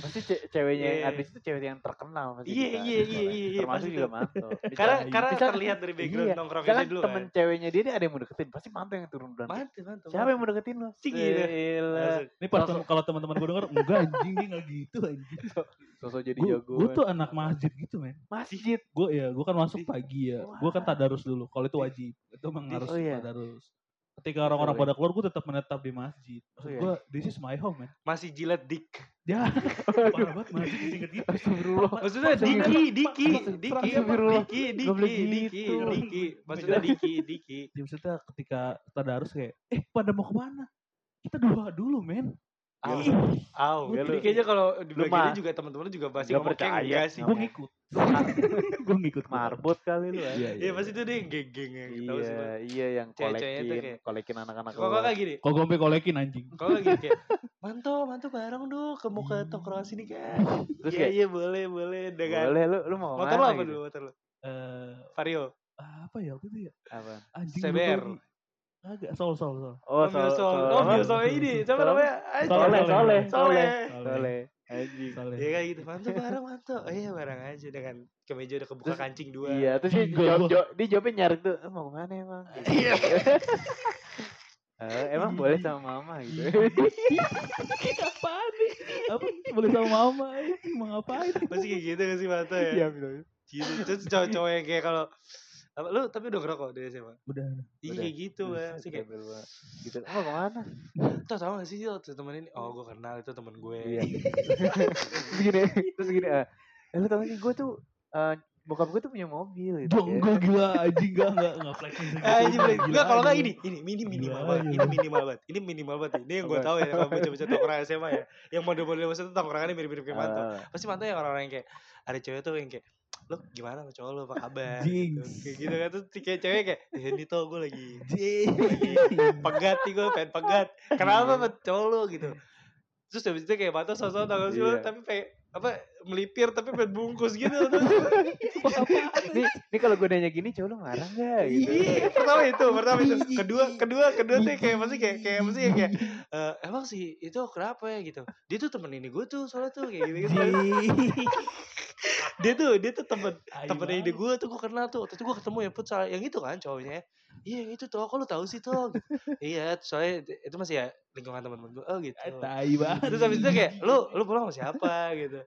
Speaker 3: pasti ce- ceweknya yang
Speaker 2: Iya.
Speaker 3: artis itu cewek yang terkenal pasti.
Speaker 2: Iya,
Speaker 3: kita.
Speaker 2: iya, iya, iya, iya,
Speaker 3: Termasuk
Speaker 2: pasti
Speaker 3: juga
Speaker 2: tuh.
Speaker 3: mantap.
Speaker 2: karena
Speaker 1: Misalnya-
Speaker 2: karena
Speaker 3: misalnya-
Speaker 2: terlihat dari background
Speaker 3: iya,
Speaker 2: nongkrongnya
Speaker 3: Misalkan
Speaker 2: dia dulu
Speaker 3: temen
Speaker 2: kan
Speaker 3: ceweknya dia, dia ada yang mau deketin, pasti mantap yang turun duluan.
Speaker 2: mantep mantep
Speaker 3: Siapa yang mau deketin lo?
Speaker 2: Cing, gitu.
Speaker 3: Gila.
Speaker 1: Ini pas tem- kalau teman-teman gue denger enggak anjing dia enggak gitu anjing.
Speaker 3: Sosok jadi kan.
Speaker 1: Gue
Speaker 3: jagoan.
Speaker 1: tuh anak masjid gitu men.
Speaker 3: masjid.
Speaker 1: Gue ya gue kan masuk pagi ya. Gue kan
Speaker 3: Wah.
Speaker 1: tadarus dulu. Kalau itu wajib. Itu emang
Speaker 3: Di-
Speaker 1: harus
Speaker 3: oh iya.
Speaker 1: tadarus. Ketika orang-orang
Speaker 3: Boleh.
Speaker 1: pada keluar gue tetap menetap di masjid. Maksud
Speaker 3: Oh iya.
Speaker 1: gue this is my home man.
Speaker 2: masih jilat dik
Speaker 1: Ya. Parah banget masjid disingkat gitu.
Speaker 3: Astagfirullah.
Speaker 2: maksudnya
Speaker 3: Maksudnya-
Speaker 2: diki diki
Speaker 1: maksud-
Speaker 2: diki
Speaker 3: Astagfirullah.
Speaker 2: diki
Speaker 3: Nggak boleh
Speaker 2: diki diki
Speaker 3: gitu.
Speaker 2: diki maksudnya diki diki
Speaker 1: Ya, maksudnya ketika tadarus kayak eh pada mau kemana? Kita doa dulu men. Iya,
Speaker 3: Au.
Speaker 1: Ih,
Speaker 2: Au. Jadi
Speaker 3: Ya lu-
Speaker 2: kayaknya kalau di
Speaker 3: lu
Speaker 2: bagiannya
Speaker 3: mah
Speaker 2: juga teman-teman juga pasti
Speaker 3: nggak
Speaker 2: ngomong kayak
Speaker 3: percaya.
Speaker 2: enggak sih.
Speaker 1: gue ngikut. gue kan ngikut.
Speaker 3: Marbot kali lu. ah.
Speaker 1: Iya,
Speaker 2: Iya pasti itu dia yang geng-geng yang tahu sih.
Speaker 3: Iya,
Speaker 2: Bang.
Speaker 3: iya yang
Speaker 2: Cewek-ceweknya tuh
Speaker 3: kolekin,
Speaker 2: kayak-
Speaker 3: kolekin anak-anak.
Speaker 2: Kalau
Speaker 3: luar.
Speaker 2: kakak gini,
Speaker 1: Kok gompe kolekin anjing.
Speaker 2: kalau kakak gini kayak mantau mantau bareng dong ke muka tongkrong sini kan.
Speaker 3: Hmm. Terus
Speaker 2: Iya
Speaker 3: kayak
Speaker 2: iya boleh boleh dengan
Speaker 3: boleh lu lu mau
Speaker 2: kan. motor lo
Speaker 3: mana
Speaker 2: apa
Speaker 3: gitu?
Speaker 2: dulu motor lo?
Speaker 1: Eh
Speaker 2: Vario.
Speaker 1: apa ya waktu itu ya?
Speaker 3: Apa?
Speaker 1: Anjing
Speaker 2: CBR.
Speaker 1: lupa lagi. Agak soal soal soal.
Speaker 3: Oh,
Speaker 2: Ambil soal, oh, ambil soal ini. Siapa
Speaker 3: Soleh.
Speaker 2: namanya? Anjing.
Speaker 3: Soleh, soleh,
Speaker 2: Soleh.
Speaker 3: Soleh. Anjing.
Speaker 1: Soleh.
Speaker 2: Iya kayak gitu. Mantap bareng, mantap. Oh iya bareng aja dengan kemeja udah kebuka
Speaker 3: Terus-
Speaker 2: kancing dua.
Speaker 3: Iya, terus dia
Speaker 1: Gua-
Speaker 3: jawab,
Speaker 1: gua-
Speaker 3: jawab- dia jawabnya nyarik tuh, "Eh, mau kemana emang?
Speaker 2: Iya.
Speaker 3: Eh, emang boleh sama mama gitu.
Speaker 1: apa nih? Apa boleh sama mama? anjing, Mau ngapain?
Speaker 2: Masih kayak gitu gak sih mantap ya?
Speaker 3: gitu.
Speaker 2: Gitu. Terus cowok-cowok yang kayak kalau apa, lu tapi udah ngerokok dari SMA?
Speaker 1: Udah.
Speaker 2: Iya
Speaker 3: Udah.
Speaker 2: kayak gitu kan. Masih kayak,
Speaker 3: Gitu. Mau kemana?
Speaker 2: tau tau gak sih Jil, tuh temen ini? Oh gue kenal itu temen gue.
Speaker 3: Iya. terus gini, terus gini, eh, "Eh, lu tau gak sih gue tuh eh bokap gue tuh punya mobil gitu.
Speaker 1: Dong gue gila anjing gak enggak enggak flexing segitu.
Speaker 2: Ah, ini bener.
Speaker 1: Gila,
Speaker 2: Enggak, kalau enggak
Speaker 1: anjing.
Speaker 2: ini, ini, ini minimal
Speaker 1: Gila,
Speaker 2: banget,
Speaker 1: iya.
Speaker 2: ini minimal banget, ini minimal banget. nih. Ini yang gue
Speaker 3: Apa?
Speaker 2: tahu ya, kalau baca-baca tongkrongan SMA ya, yang model-model masa itu tongkrongannya mirip-mirip kayak mantap.
Speaker 3: Eh,
Speaker 2: Pasti mantap ya orang-orang yang kayak ada cewek tuh yang kayak, lo gimana sama cowok lo apa kabar?
Speaker 1: Jinx.
Speaker 2: Gitu. Kayak gitu kan terus kayak cewek kayak, eh ini tau gue lagi,
Speaker 1: Anjing.
Speaker 2: lagi pegat nih gue pengen pegat. Kenapa sama cowok lo gitu? Terus habis itu kayak mantap sosok tau gak sih lo,
Speaker 3: Iya.
Speaker 2: tapi pengen apa melipir tapi pengen bungkus gitu terus
Speaker 1: Apa apaan?
Speaker 3: Ini, ini kalau gue nanya gini, cowok lu marah gak? Gitu.
Speaker 2: Iya, pertama itu, pertama itu. Kedua, kedua, kedua tuh kayak pasti kayak kayak pasti kayak,
Speaker 1: Iya.
Speaker 2: kayak "Eh, emang sih itu kenapa ya gitu. Dia tuh temen ini gue tuh soalnya tuh kayak gitu. Dia tuh dia tuh temen temen ini gue tuh gue kenal tuh. Waktu itu gue ketemu ya futsal yang itu kan cowoknya. ya. Iya yang itu tuh, kok lu tahu sih tuh? Gitu. Iya, soalnya itu masih ya lingkungan temen-temen gue. Oh gitu.
Speaker 1: Tai, Tai banget.
Speaker 2: Terus habis itu kayak lu lu pulang sama siapa gitu.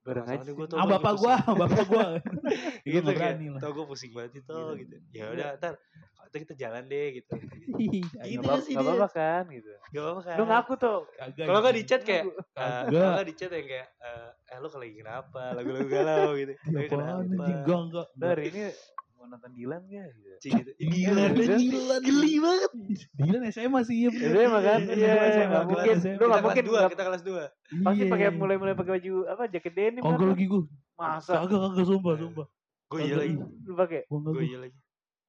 Speaker 3: Bareng
Speaker 2: Soalnya
Speaker 3: aja. gitu.
Speaker 2: gua tuh-
Speaker 1: Ah bapak gua, bapak gua. Gua
Speaker 2: gitu
Speaker 1: nggak
Speaker 2: kayak,
Speaker 1: berani lah.
Speaker 2: tau gue pusing banget itu gitu. Ya udah, ntar kalau itu kita jalan deh gitu.
Speaker 1: Gitu.
Speaker 2: Gitu
Speaker 3: Gak apa-
Speaker 2: sih
Speaker 3: gak
Speaker 2: dia.
Speaker 3: apa-apa kan gitu.
Speaker 2: Gak apa-apa kan?
Speaker 3: Lu ngaku tuh.
Speaker 1: Kagak.
Speaker 2: Kalau nggak di
Speaker 1: anjing.
Speaker 2: chat kayak, eh,
Speaker 1: Kagak.
Speaker 2: kalau nggak di chat yang kayak, eh, eh lu lagi kenapa? Lagu-lagu galau gitu.
Speaker 1: Ya
Speaker 2: Lu
Speaker 1: apaan anjing
Speaker 2: kenapa?
Speaker 1: gua enggak.
Speaker 3: Lu hari ini mau nonton Dilan gak? Gitu.
Speaker 2: Cing gitu. Gila,
Speaker 1: Gila,
Speaker 2: gila, geli banget.
Speaker 1: Gila SMA sih iya.
Speaker 3: Ya
Speaker 1: bener.
Speaker 3: udah emang kan?
Speaker 1: Iya,
Speaker 3: Iya,
Speaker 1: iya,
Speaker 3: nggak
Speaker 1: iya, iya.
Speaker 3: mungkin. Lu
Speaker 2: Kita
Speaker 3: gak
Speaker 2: kelas
Speaker 3: mungkin.
Speaker 2: dua,
Speaker 3: nggak-
Speaker 2: kita kelas dua.
Speaker 3: Pasti
Speaker 1: Iya. gitu.
Speaker 3: pakai mulai-mulai pakai baju apa jaket denim
Speaker 1: Kagak
Speaker 3: kan?
Speaker 1: lagi gua.
Speaker 3: Masa
Speaker 1: Kagak kagak sumpah sumpah.
Speaker 2: Gue iya lagi,
Speaker 3: lu pakai?
Speaker 1: Gua enggak
Speaker 2: gue iya lagi.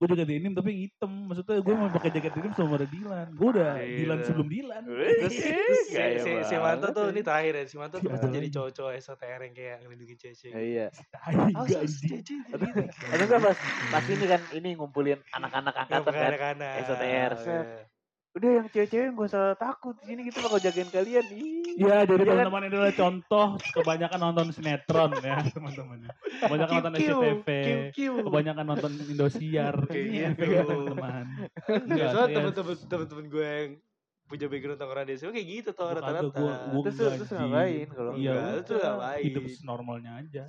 Speaker 1: gue juga denim tapi yang hitam maksudnya gue mau pakai jaket denim sama ada Dilan gue udah
Speaker 2: Gila.
Speaker 1: Dilan sebelum Dilan
Speaker 2: Terus, terus si,
Speaker 3: Iya, Gaya
Speaker 2: si, si
Speaker 3: banget
Speaker 2: Manto tuh,
Speaker 3: ya.
Speaker 2: ini terakhir ya. Si Manto tuh
Speaker 1: Gaya.
Speaker 2: jadi cowok-cowok SOTR yang kayak ngelindungi
Speaker 3: Ya,
Speaker 2: cewek-cewek.
Speaker 3: iya.
Speaker 1: Tai,
Speaker 2: Oh,
Speaker 1: gak
Speaker 2: sus,
Speaker 1: anjing.
Speaker 2: cewek-cewek
Speaker 3: Aduh,
Speaker 2: gitu.
Speaker 3: Atau enggak pas pas ini kan ini ngumpulin anak-anak
Speaker 2: Yang
Speaker 3: angkatan kan.
Speaker 2: kanak-kanak.
Speaker 3: SOTR, set.
Speaker 2: Iya.
Speaker 3: Udah yang cewek-cewek gak usah takut di sini kita bakal jagain kalian. Ih.
Speaker 1: Ya, jadi
Speaker 3: Iya kan?
Speaker 1: teman-teman ini adalah contoh kebanyakan nonton sinetron ya, teman-teman. Kebanyakan nonton
Speaker 2: Kiu, kiu,
Speaker 1: SCTV,
Speaker 2: kiu, kiu.
Speaker 1: kebanyakan nonton Indosiar.
Speaker 2: Kayak
Speaker 1: Ini
Speaker 2: gitu.
Speaker 1: efeknya, teman-teman. ya,
Speaker 2: Enggak,
Speaker 1: Enggak,
Speaker 2: soalnya
Speaker 1: serius.
Speaker 2: temen-temen temen-temen gue yang punya background tongkrongan desa kayak gitu tuh
Speaker 1: Gua kagak,
Speaker 2: rata-rata.
Speaker 1: gua- gua
Speaker 3: Terus-
Speaker 1: enggak,
Speaker 3: terus
Speaker 1: anjing.
Speaker 3: ngapain kalau
Speaker 1: Iya,
Speaker 2: enggak? Terus
Speaker 1: udah,
Speaker 2: ngapain?
Speaker 1: Hidup normalnya aja.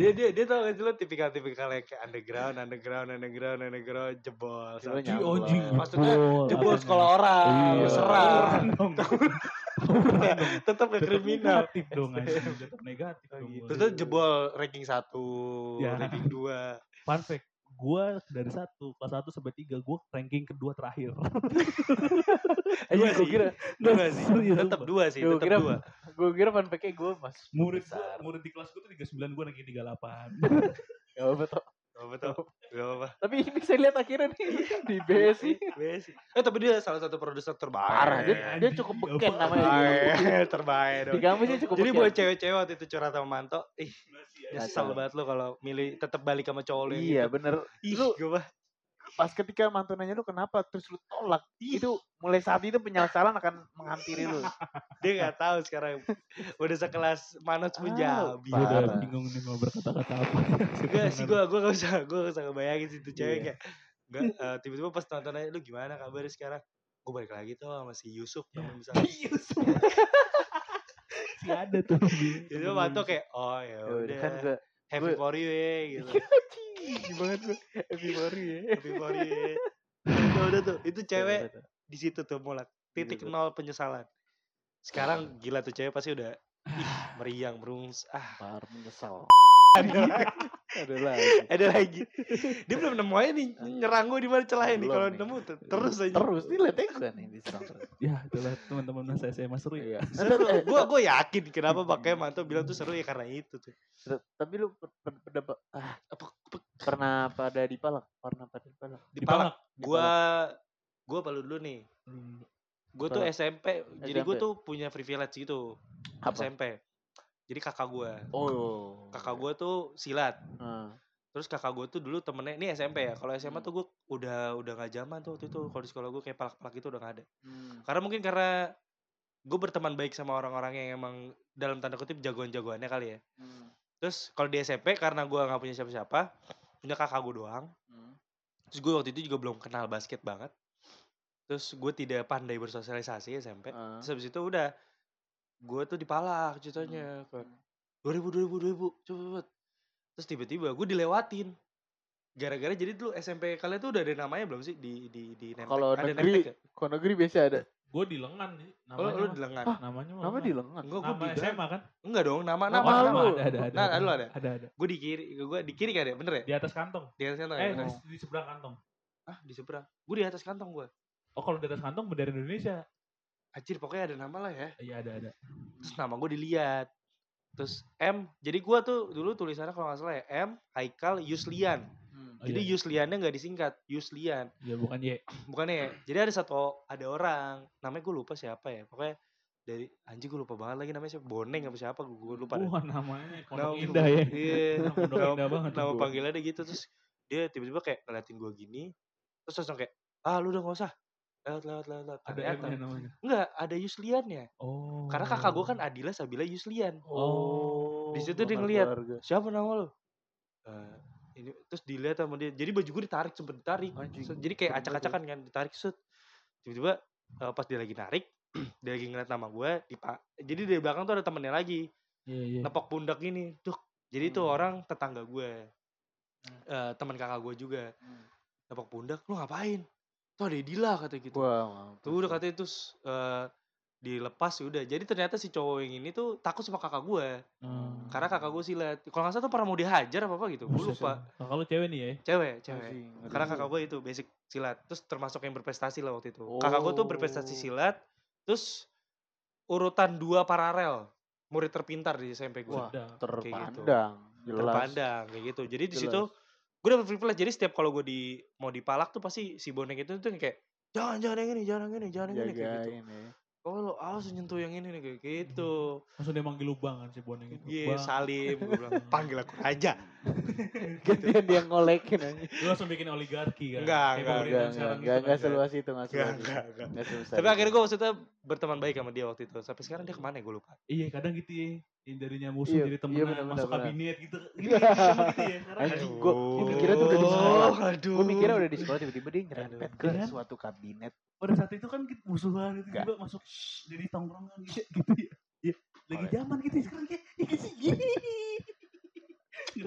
Speaker 2: dia dia dia tau gak sih lo tipikal-tipikal yang kayak underground, underground, underground, underground, jebol.
Speaker 3: Jebol
Speaker 2: sampai-
Speaker 1: Ji,
Speaker 3: Nyambung.
Speaker 1: anjing,
Speaker 2: Maksudnya,
Speaker 1: jebol,
Speaker 2: jebol
Speaker 1: apanya.
Speaker 2: sekolah orang,
Speaker 1: Iya. Iya.
Speaker 2: serang,
Speaker 1: Tawuran dong. Tawuran dong.
Speaker 2: tetap ke
Speaker 1: Tetep
Speaker 2: kriminal. Oh, gitu.
Speaker 1: Negatif dong, anjing. Tetep negatif dong. gua.
Speaker 2: Terus tuh jebol ranking 1,
Speaker 1: Ya.
Speaker 2: ranking 2.
Speaker 1: Fun fact, gue dari satu kelas satu sampai tiga gue ranking kedua terakhir.
Speaker 3: Iya,
Speaker 2: Dua
Speaker 3: gue
Speaker 2: sih.
Speaker 3: kira
Speaker 2: Dua sih,
Speaker 1: Serius, Iya,
Speaker 2: tetap
Speaker 1: sumpah.
Speaker 2: dua sih,
Speaker 3: Duh,
Speaker 2: tetap
Speaker 3: kira-
Speaker 2: dua.
Speaker 3: gue kira fun packnya gue mas.
Speaker 1: Murid gue,
Speaker 3: besar.
Speaker 1: murid di kelas gue tuh tiga sembilan gue ranking tiga delapan.
Speaker 3: Gak apa-apa toh.
Speaker 2: Gak apa-apa, tau. gak apa-apa.
Speaker 3: Ya Tapi ini saya lihat akhirnya nih di BSI.
Speaker 2: Besi. Eh tapi dia salah satu produser terbaik.
Speaker 3: Iya
Speaker 2: Iya.
Speaker 3: Parah
Speaker 2: Eh,
Speaker 3: dia, dia cukup beken namanya.
Speaker 2: Terbaik, terbaik
Speaker 3: Di
Speaker 2: dong.
Speaker 3: kampus dia cukup
Speaker 2: Iya, Jadi
Speaker 3: beken.
Speaker 2: buat cewek-cewek waktu itu curhat sama Manto, ih nyesel
Speaker 3: Kacau.
Speaker 2: banget lo kalau milih tetap balik sama cowok lo yang
Speaker 3: Iya
Speaker 2: gitu.
Speaker 3: bener
Speaker 2: Ih,
Speaker 3: Lu-
Speaker 2: gue bah.
Speaker 3: Pas ketika mantu nanya lu kenapa Terus lu tolak Itu mulai saat itu penyesalan akan menghampiri lu
Speaker 2: Dia gak tahu sekarang udah sekelas Manoj Punjabi.
Speaker 1: Gue udah
Speaker 3: Parah.
Speaker 1: bingung nih mau berkata-kata apa. Iya
Speaker 2: Enggak sih gue gue gak usah gue gak usah ngebayangin situ
Speaker 3: Iya.
Speaker 2: cewek kayak enggak eh, tiba-tiba pas nonton aja lu gimana kabarnya sekarang? Gue balik lagi tuh sama si Yusuf
Speaker 3: Iya.
Speaker 2: temen misalnya.
Speaker 1: Masih ada tuh.
Speaker 2: Jadi Manto kayak oh ya
Speaker 3: Ya udah,
Speaker 2: udah
Speaker 3: Kan gue
Speaker 2: happy
Speaker 3: gua-
Speaker 2: for you ya gitu.
Speaker 3: Gimana tuh Happy baru ya
Speaker 2: happy for you. ya. Udah, udah tuh itu cewek di situ tuh mulai titik
Speaker 3: Gitu tuh.
Speaker 2: nol penyesalan sekarang gila tuh cewek pasti udah ih, meriang merungs ah
Speaker 3: Baru menyesal
Speaker 2: ada lagi
Speaker 3: Ada lagi
Speaker 2: ada lagi dia belum nemu aja nih nyerang gue di mana celahnya nih
Speaker 3: Belum
Speaker 2: kalau
Speaker 3: nih.
Speaker 2: nemu tuh terus aja
Speaker 3: Terus nih liatnya gue nih diserang terus.
Speaker 1: Ya, itulah teman-teman masa SMA seru ya.
Speaker 3: Iya.
Speaker 2: seru gue gue yakin kenapa pakai mantu bilang tuh seru ya karena itu tuh
Speaker 3: Ter- Tapi lu per- per- per- ah,
Speaker 2: apa
Speaker 3: pernah pada dipalak Pernah pada dipalak
Speaker 2: di palak gue gue palu dulu nih gue tuh
Speaker 3: Palak.
Speaker 2: SMP jadi gue
Speaker 3: SMP.
Speaker 2: tuh punya privilege gitu
Speaker 3: Apa?
Speaker 2: SMP jadi kakak gue
Speaker 3: Oh
Speaker 2: Iya. kakak gue tuh silat
Speaker 3: Nah,
Speaker 2: terus kakak gue tuh dulu temennya ini SMP ya kalau SMA tuh gue udah udah nggak zaman tuh waktu itu kalau di sekolah gue kayak palak-palak itu udah nggak ada
Speaker 3: Hmm,
Speaker 2: karena mungkin karena gue berteman baik sama orang-orang yang emang dalam tanda kutip jagoan-jagoannya kali ya
Speaker 3: hmm,
Speaker 2: terus kalau di SMP karena gue nggak punya siapa-siapa punya kakak gue doang
Speaker 3: hmm,
Speaker 2: terus gue waktu itu juga belum kenal basket banget terus gue tidak pandai bersosialisasi SMP
Speaker 3: Ah.
Speaker 2: terus habis itu udah gue tuh dipalak ceritanya kan dua ribu dua ribu dua ribu cepet terus tiba-tiba gue dilewatin gara-gara jadi dulu SMP kalian tuh udah ada namanya belum sih di di di Nemtek?
Speaker 3: Kalau
Speaker 2: ada
Speaker 3: negeri,
Speaker 2: Nemtek ya?
Speaker 3: Kalau negeri biasa ada.
Speaker 1: Gue di lengan nih.
Speaker 2: Lo,
Speaker 1: Namanya mah-
Speaker 2: lo Oh, di lengan.
Speaker 1: namanya mah
Speaker 3: Nama
Speaker 1: lengan.
Speaker 3: di lengan.
Speaker 2: Enggak, gue
Speaker 1: Nama
Speaker 2: di
Speaker 1: SMA kan?
Speaker 2: Enggak dong, nama
Speaker 3: Nama
Speaker 2: nama.
Speaker 1: Oh,
Speaker 3: lu.
Speaker 1: nama ada ada ada.
Speaker 2: Nah, lu ada?
Speaker 1: Ada ada.
Speaker 2: Gue di kiri, gue di kiri kan ya, bener ya?
Speaker 1: Di atas kantong.
Speaker 2: Di atas kantong ya?
Speaker 1: Eh,
Speaker 2: bener?
Speaker 1: di, di seberang kantong.
Speaker 2: Ah, di seberang. Gue di atas kantong gue.
Speaker 1: Oh, kalau di atas kantong bendera Indonesia.
Speaker 2: Anjir, pokoknya ada nama lah ya.
Speaker 1: Iya, ada ada.
Speaker 2: Terus nama gue dilihat. Terus M, jadi gue tuh dulu tulisannya kalau nggak salah ya, M, Haikal, Yuslian.
Speaker 1: Oh,
Speaker 2: jadi
Speaker 1: iya.
Speaker 2: Yusliannya nggak disingkat, Yuslian.
Speaker 1: Ya bukan Y.
Speaker 2: Bukannya ya,
Speaker 1: Hmm.
Speaker 2: jadi ada satu, ada orang, namanya gue lupa siapa ya. Pokoknya dari, anjir gue lupa banget lagi namanya siapa, Boneng apa siapa, gue lupa. dah.
Speaker 1: Wah, namanya
Speaker 2: Nama-
Speaker 1: Kondok Uh, Indah ya.
Speaker 2: Iya.
Speaker 1: Kondok
Speaker 2: Nama-
Speaker 1: Indah banget.
Speaker 2: nama
Speaker 3: Gua.
Speaker 2: panggilannya gitu terus dia tiba-tiba kayak ngeliatin gue gini terus langsung kayak ah lu udah gak usah lewat lewat lewat, lewat.
Speaker 1: Ada
Speaker 2: Ternyata-
Speaker 1: M-nya namanya.
Speaker 2: enggak ada Yusliannya
Speaker 1: Oh.
Speaker 2: karena kakak gue kan Adila Sabila Yuslian
Speaker 1: Oh.
Speaker 2: Di situ dia
Speaker 3: Bakal
Speaker 2: ngeliat.
Speaker 3: keluarga.
Speaker 2: siapa nama lu Eh, ini terus dilihat sama dia jadi baju gue ditarik sempet ditarik
Speaker 3: Anjing,
Speaker 2: So, jadi kayak
Speaker 3: serem
Speaker 2: acak-acakan kan ditarik set tiba-tiba eh, pas dia lagi narik dia lagi ngeliat nama gue dipa- jadi dari belakang tuh ada temennya lagi
Speaker 1: Iya, iya.
Speaker 2: nepok pundak gini duk jadi itu
Speaker 3: Hmm.
Speaker 2: orang tetangga gue
Speaker 3: Hmm.
Speaker 2: Eh, teman kakak gue juga
Speaker 3: Hmm.
Speaker 2: nepok pundak lu ngapain tuh ada Dila kata gitu
Speaker 3: Wah, mampus.
Speaker 2: tuh udah katanya terus eh, dilepas ya udah jadi ternyata si cowok yang ini tuh takut sama kakak gue
Speaker 1: Hmm.
Speaker 2: karena kakak gue silat kalau nggak salah tuh pernah mau dihajar apa apa gitu gue
Speaker 1: Buset,
Speaker 2: lupa
Speaker 1: Kakak lu cewek nih ya.
Speaker 2: cewek cewek
Speaker 3: Anjing, ngeri.
Speaker 2: karena kakak gue itu basic silat terus termasuk yang berprestasi lah waktu itu kakak gue tuh berprestasi
Speaker 3: Oh.
Speaker 2: silat terus urutan dua paralel murid terpintar di SMP gue
Speaker 3: Wah,
Speaker 1: Sedap.
Speaker 3: terpandang. Jelas.
Speaker 2: gitu. terpandang kayak gitu jadi di
Speaker 3: Jelas.
Speaker 2: situ gue dapet privilege jadi setiap kalau gue di mau dipalak tuh pasti si bonek itu tuh kayak jangan jangan yang ini jangan yang ini jangan yang ini kayak gitu
Speaker 3: Jagain ya.
Speaker 2: oh lo awas nyentuh yang ini nih kayak gitu
Speaker 1: Langsung dia manggil lubang kan si Boneng
Speaker 3: Hmm.
Speaker 1: itu.
Speaker 2: Iya,
Speaker 1: Bang.
Speaker 2: salim gue bilang panggil aku raja
Speaker 3: Gantian dia ngolekin aja.
Speaker 1: Lu langsung bikin oligarki kan.
Speaker 2: Enggak,
Speaker 1: Kayak
Speaker 2: enggak,
Speaker 1: pemerintahan
Speaker 3: Enggak, enggak,
Speaker 1: sekarang gitu kan,
Speaker 3: enggak, enggak
Speaker 1: kan.
Speaker 3: seluas itu, enggak
Speaker 2: Enggak,
Speaker 3: seluas itu.
Speaker 2: enggak, enggak.
Speaker 3: Enggak sebesar
Speaker 2: tapi
Speaker 3: itu.
Speaker 2: akhirnya gue maksudnya berteman baik sama dia waktu itu sampai sekarang dia kemana ya gue lupa
Speaker 1: Iya kadang gitu ya Yang darinya musuh
Speaker 3: Iya,
Speaker 1: jadi
Speaker 3: iya,
Speaker 1: temenan
Speaker 3: benar,
Speaker 1: Masuk
Speaker 3: benar, benar.
Speaker 1: kabinet gitu Gitu, gitu, gitu ya Sekarang
Speaker 3: Anjing,
Speaker 1: kan.
Speaker 3: gua- gua mikirnya tuh udah di sekolah.
Speaker 2: Oh, aduh
Speaker 3: Gue mikirnya udah di sekolah tiba-tiba dia nyerempet ke
Speaker 1: Iya kan?
Speaker 3: suatu kabinet.
Speaker 1: Pada saat itu kan kita musuhan gitu
Speaker 3: Enggak.
Speaker 1: Tiba masuk shh, Jadi tongkrongan gitu, gitu ya Iya, Lagi
Speaker 3: Oleh.
Speaker 1: zaman gitu ya sekarang kayak ya gak sih?
Speaker 2: Iya.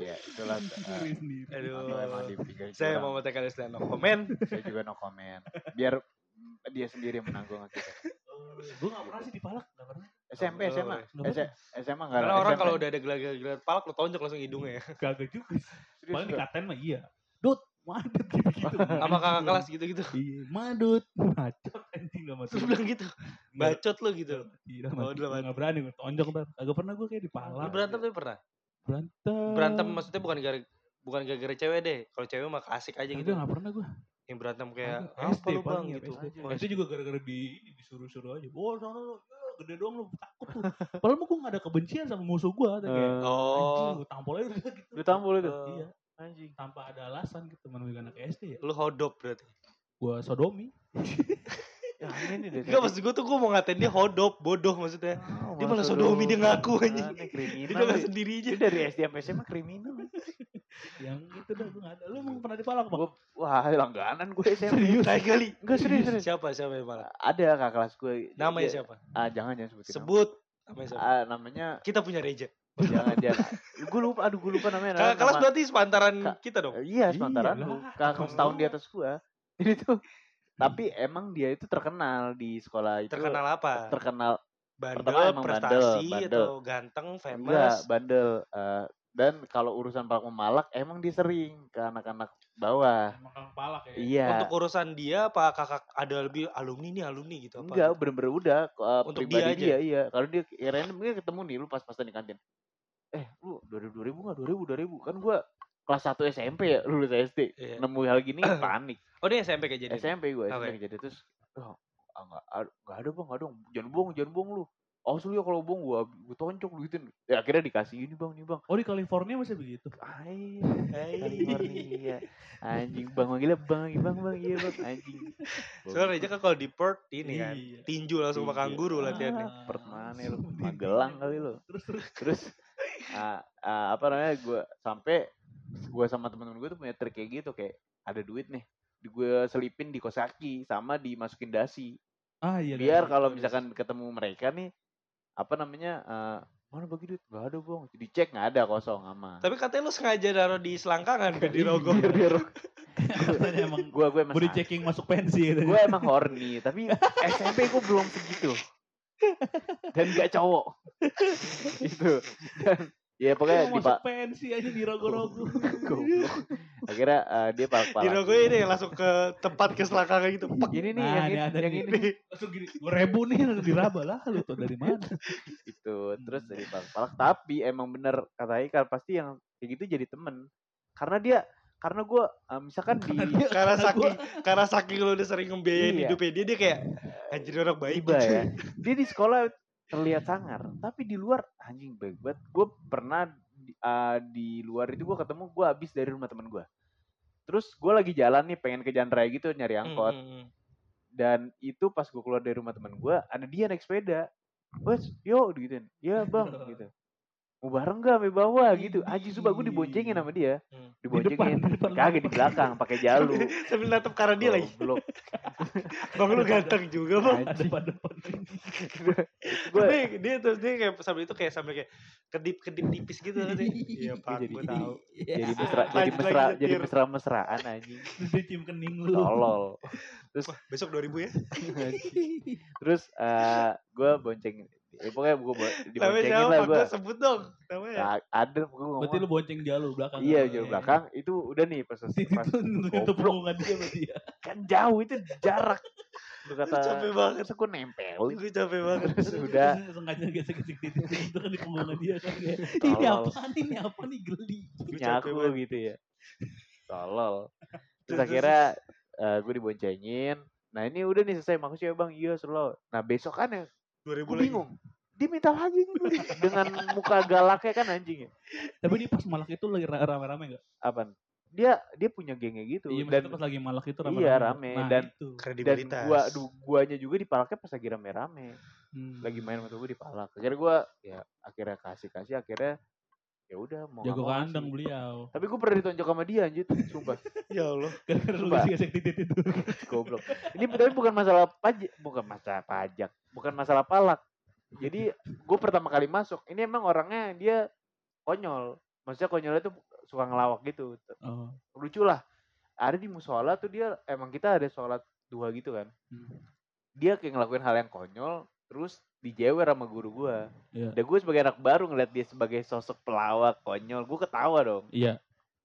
Speaker 3: Ya, itulah.
Speaker 1: Ngeri sendiri.
Speaker 2: ah. Aduh.
Speaker 3: Aduh, emang dipikirin
Speaker 2: Iya. saya
Speaker 3: curang.
Speaker 2: mau mata kalian no komen
Speaker 3: Saya juga no comment. Biar dia sendiri yang menanggung akibatnya.
Speaker 1: Gue gak Oh, pernah sih dipalak Gak pernah
Speaker 3: SMP,
Speaker 2: Nggak
Speaker 3: SMA.
Speaker 1: Nggak pernah.
Speaker 3: S- SMA enggak
Speaker 2: Oh, karena orang kalau udah ada gelar-gelar palak lo tonjok langsung hidungnya ya
Speaker 1: Kagak juga sih. Paling dikatain mah iya Dut Madut gitu-gitu
Speaker 2: sama kakak kelas gitu-gitu
Speaker 1: Iya Madut Bacot anjing gak
Speaker 2: terus
Speaker 1: masuk
Speaker 2: bilang gitu bacot lo gitu
Speaker 1: Tidak
Speaker 2: Oh, udah mati.
Speaker 1: Gak berani gue tonjok ntar Agak pernah gue kayak
Speaker 2: lu
Speaker 1: dipalak
Speaker 2: berantem tapi pernah
Speaker 1: Berantem
Speaker 2: berantem maksudnya bukan gara bukan gara-gara cewek deh kalau cewek mah kasih aja gitu
Speaker 1: Kagak gak pernah gue
Speaker 2: yang berantem kayak
Speaker 1: Kagak,
Speaker 2: apa lu bang
Speaker 1: paling ya,
Speaker 2: gitu
Speaker 1: SD.
Speaker 2: Mau
Speaker 1: Itu juga gara-gara di ini, disuruh-suruh aja. Oh, sana lu, ya, gede doang lu takut tuh. Padahal mah gue gak ada kebencian sama musuh gue. kayak, anjing,
Speaker 2: Oh,
Speaker 1: gue tampol aja udah gitu.
Speaker 3: Lu tampol Eh, itu?
Speaker 2: Eh.
Speaker 1: Iya,
Speaker 3: Anjing.
Speaker 1: tanpa ada alasan gitu. Menurut anak SD ya.
Speaker 2: lu hodop berarti.
Speaker 1: Gue sodomi.
Speaker 3: Ya, ini deh. Oh,
Speaker 2: Enggak maksud gue tuh gue mau ngatain dia hodop, bodoh maksudnya. Dia malah sodomi, dia ngaku, anjing.
Speaker 3: Aneh,
Speaker 2: Dia
Speaker 3: kriminal.
Speaker 2: udah nggak
Speaker 3: lu.
Speaker 2: sendiri aja.
Speaker 3: Dia dari SD sampai SMA kriminal.
Speaker 1: Yang gitu dah, gue gak ada. Lu emang pernah dipalak, Bang?
Speaker 3: Gua- Wah, langganan gue SMP.
Speaker 2: Lain kali.
Speaker 3: Enggak serius, serius. Iya.
Speaker 2: Siapa siapa yang malah?
Speaker 3: Ada kakak kelas gue.
Speaker 2: Namanya
Speaker 3: Dia-
Speaker 2: siapa?
Speaker 3: Ah, jangan jangan sebutin. nama.
Speaker 2: Sebut namanya siapa?
Speaker 3: Ah, namanya
Speaker 2: Kita punya Reja.
Speaker 3: Oh, jangan jangan. Gue lupa, aduh gue lupa namanya.
Speaker 2: Kakak kelas
Speaker 3: Nama-
Speaker 2: berarti sepantaran
Speaker 3: Nah, Ka-
Speaker 2: kita dong.
Speaker 3: Iya, sepantaran
Speaker 1: Iyalah,
Speaker 3: lu. Kakak
Speaker 2: temen
Speaker 3: setahun
Speaker 1: lu.
Speaker 3: di atas gua. Jadi tuh tapi emang dia itu terkenal di sekolah itu.
Speaker 2: Terkenal apa?
Speaker 3: terkenal pertama
Speaker 2: Bandel,
Speaker 3: emang
Speaker 2: prestasi
Speaker 3: bandel, Iya,
Speaker 2: atau ganteng,
Speaker 3: enggak
Speaker 2: famous.
Speaker 3: bandel Eh, dan kalau urusan palak memalak emang dia sering ke anak-anak bawah.
Speaker 1: Emang kang palak ya.
Speaker 3: Iya.
Speaker 2: Untuk urusan dia apa kakak ada lebih alumni nih alumni gitu apa?
Speaker 3: Enggak, bener-bener udah eh,
Speaker 2: Untuk
Speaker 3: pribadi
Speaker 2: dia
Speaker 3: dia, iya. Kalau dia kirain mungkin ketemu nih lu pas-pasan di kantin. Eh, lu 2000 2000 enggak 2000 2000 kan gua kelas 1 SMP ya, lulus SD.
Speaker 2: Iya.
Speaker 3: Nemu hal gini panik. ya?
Speaker 2: Oh dia SMP kayak jadi.
Speaker 3: SMP gue
Speaker 2: Oke.
Speaker 3: SMP jadi terus oh, ah, nggak ada nggak ada bang nggak dong jangan bohong jangan bohong lu awas lu ya kalau bohong gua gua toncok lu gituin ya akhirnya dikasih ini bang ini bang
Speaker 1: Oh di California masih begitu.
Speaker 3: Ay,
Speaker 2: Eh, iya.
Speaker 3: California anjing bang manggilnya bang lagi bang bang iya bang anjing
Speaker 2: Soalnya Reza kan kalau di Perth ini kan
Speaker 1: Iya.
Speaker 2: tinju langsung sama
Speaker 3: Tinju.
Speaker 2: kangguru
Speaker 3: Ah.
Speaker 2: latihannya.
Speaker 3: Perth mana ya, lu?
Speaker 1: Sumpah.
Speaker 3: Magelang kali lu.
Speaker 1: Terus terus.
Speaker 3: terus ah, ah, apa namanya gue sampai gue sama temen-temen gue tuh punya trik kayak gitu kayak ada duit nih gue selipin di kosaki sama dimasukin dasi
Speaker 1: Ah iya.
Speaker 3: biar
Speaker 1: kan.
Speaker 3: kalau
Speaker 2: gitu,
Speaker 3: misalkan ketemu mereka nih apa namanya eh, mana bagi duit gak ada bong dicek nggak ada kosong sama
Speaker 2: Tapi katanya lu sengaja naruh di selangkangan kan di logo.
Speaker 3: biar biar
Speaker 1: Katanya emang
Speaker 3: gue gue emang
Speaker 1: body checking masuk pensi gitu.
Speaker 3: gue emang horny tapi SMP gue belum segitu dan gak cowok itu dan ya pokoknya di
Speaker 1: masuk pensi aja di rogo-rogo.
Speaker 3: Goblok. Akhirnya eh, dia pala
Speaker 2: Di logo ini langsung ke tempat ke selangkangan gitu. Pek.
Speaker 3: Ini nih
Speaker 1: Nah,
Speaker 3: yang,
Speaker 1: ini
Speaker 3: ini,
Speaker 1: ada
Speaker 3: yang
Speaker 1: nih.
Speaker 3: ini.
Speaker 1: Langsung gini, gue rebu nih diraba lah lu tuh dari mana?
Speaker 3: Itu terus dari Bang Palak. Tapi emang bener kata Ikal pasti yang kayak gitu jadi temen. Karena dia karena gue misalkan di
Speaker 2: Karena
Speaker 1: gua-
Speaker 2: saking karena saking lu udah sering ngebiayain
Speaker 3: Iya.
Speaker 2: hidupnya dia dia kayak anjir ini orang baik. Hmm,
Speaker 3: tiba ya dia di sekolah terlihat sangar tapi di luar anjing baik banget gue pernah di, ah, di luar itu gue ketemu gue habis dari rumah temen gue terus gue lagi jalan nih pengen ke jalan raya gitu
Speaker 2: Hmm,
Speaker 3: nyari angkot dan itu pas gue keluar dari rumah teman gue ada dia naik sepeda wes yo gituin ya bang gitu mau bareng gak sampai bawah gitu aji sumpah gue diboncengin sama dia
Speaker 2: Hmm.
Speaker 3: diboncengin
Speaker 1: di depan
Speaker 3: kagak di belakang pakai jalu
Speaker 2: Sambil natap karena dia lagi.
Speaker 3: Goblok. Oh.
Speaker 2: Bang lu ganteng juga, Bang.
Speaker 1: Ada
Speaker 3: Anjing.
Speaker 1: pada depan.
Speaker 3: Gua-
Speaker 2: Tapi dia terus dia kayak sambil itu kayak sambil kayak kedip-kedip tipis gitu kan. Iya, Pak,
Speaker 3: Jadi-
Speaker 2: gua tahu.
Speaker 1: Iya.
Speaker 3: jadi mesra jadi
Speaker 2: Lanjut
Speaker 3: mesra
Speaker 2: lagi
Speaker 3: jadi
Speaker 2: nyetir.
Speaker 3: mesra mesraan anjing
Speaker 1: Dia cium kening lu.
Speaker 3: tolol
Speaker 2: Wah, besok 2000 ya.
Speaker 3: terus eh gue boncengin ya, pokoknya gue
Speaker 2: Namanya
Speaker 3: diboncengin
Speaker 2: siapa?
Speaker 3: lah Nah,
Speaker 2: Gua
Speaker 3: gue
Speaker 2: sebut dong. Namanya.
Speaker 3: ada gue ngomong
Speaker 1: Berarti lu bonceng jalu belakang. Iya.
Speaker 3: iya jauh belakang itu udah nih pas
Speaker 1: Itu
Speaker 3: pas
Speaker 1: itu
Speaker 3: Goblok.
Speaker 1: punggungan dia berarti ya.
Speaker 3: kan jauh itu jarak lu
Speaker 2: Gua
Speaker 3: kata
Speaker 2: capek banget.
Speaker 3: terus gue nempelin
Speaker 2: Gue capek banget.
Speaker 3: terus udah Iya.
Speaker 1: Terus sengaja gesek-gesek titik itu kan di punggungan dia kan ya. Ini
Speaker 3: Tolol.
Speaker 1: apa nih? Ini apa nih geli?
Speaker 2: Gua capek
Speaker 3: nyaku
Speaker 2: banget.
Speaker 3: gitu ya tolol terus
Speaker 2: Terus-
Speaker 3: akhirnya gue diboncengin nah ini udah nih selesai makasih ya bang iya slow nah besok kan ya
Speaker 2: 2000
Speaker 3: gue
Speaker 2: lagi.
Speaker 3: bingung dia minta lagi nih gua. dengan muka galaknya kan anjing ya
Speaker 1: Tapi ini pas malak itu lagi ra- rame-rame gak?
Speaker 3: apaan dia dia punya gengnya gitu
Speaker 1: Iya,
Speaker 3: dan
Speaker 1: maksudnya pas lagi malak itu rame-rame.
Speaker 3: iya,
Speaker 1: nggak?
Speaker 3: rame.
Speaker 1: Nah,
Speaker 3: Dan-
Speaker 1: itu.
Speaker 3: dan
Speaker 2: Kredibilitas.
Speaker 3: gua du- guanya juga dipalaknya pas lagi rame-rame
Speaker 1: Hmm.
Speaker 3: lagi main sama gue dipalak akhirnya gua ya akhirnya kasih kasih akhirnya ya udah mau nggak
Speaker 1: jago
Speaker 3: mau
Speaker 1: kandang
Speaker 3: kasih.
Speaker 1: beliau.
Speaker 3: tapi gue pernah ditonjok sama dia anjir sumpah
Speaker 2: Ya Allah.
Speaker 1: Gara-gara lu
Speaker 3: Coba.
Speaker 1: gesek-gesek titik itu.
Speaker 3: goblok. Ini tapi bukan masalah pajak, bukan masalah pajak, bukan masalah palak. Jadi gue pertama kali masuk, ini emang orangnya dia konyol. Maksudnya konyolnya tuh suka ngelawak gitu.
Speaker 1: Oh.
Speaker 3: Lucu lah. Ada di musola tuh dia emang kita ada sholat dua gitu kan.
Speaker 1: Hmm.
Speaker 3: Dia kayak ngelakuin hal yang konyol, terus dijewer sama guru gua.
Speaker 1: Iya.
Speaker 3: Dan gue sebagai anak baru ngeliat dia sebagai sosok pelawak konyol, gue ketawa dong.
Speaker 1: Iya.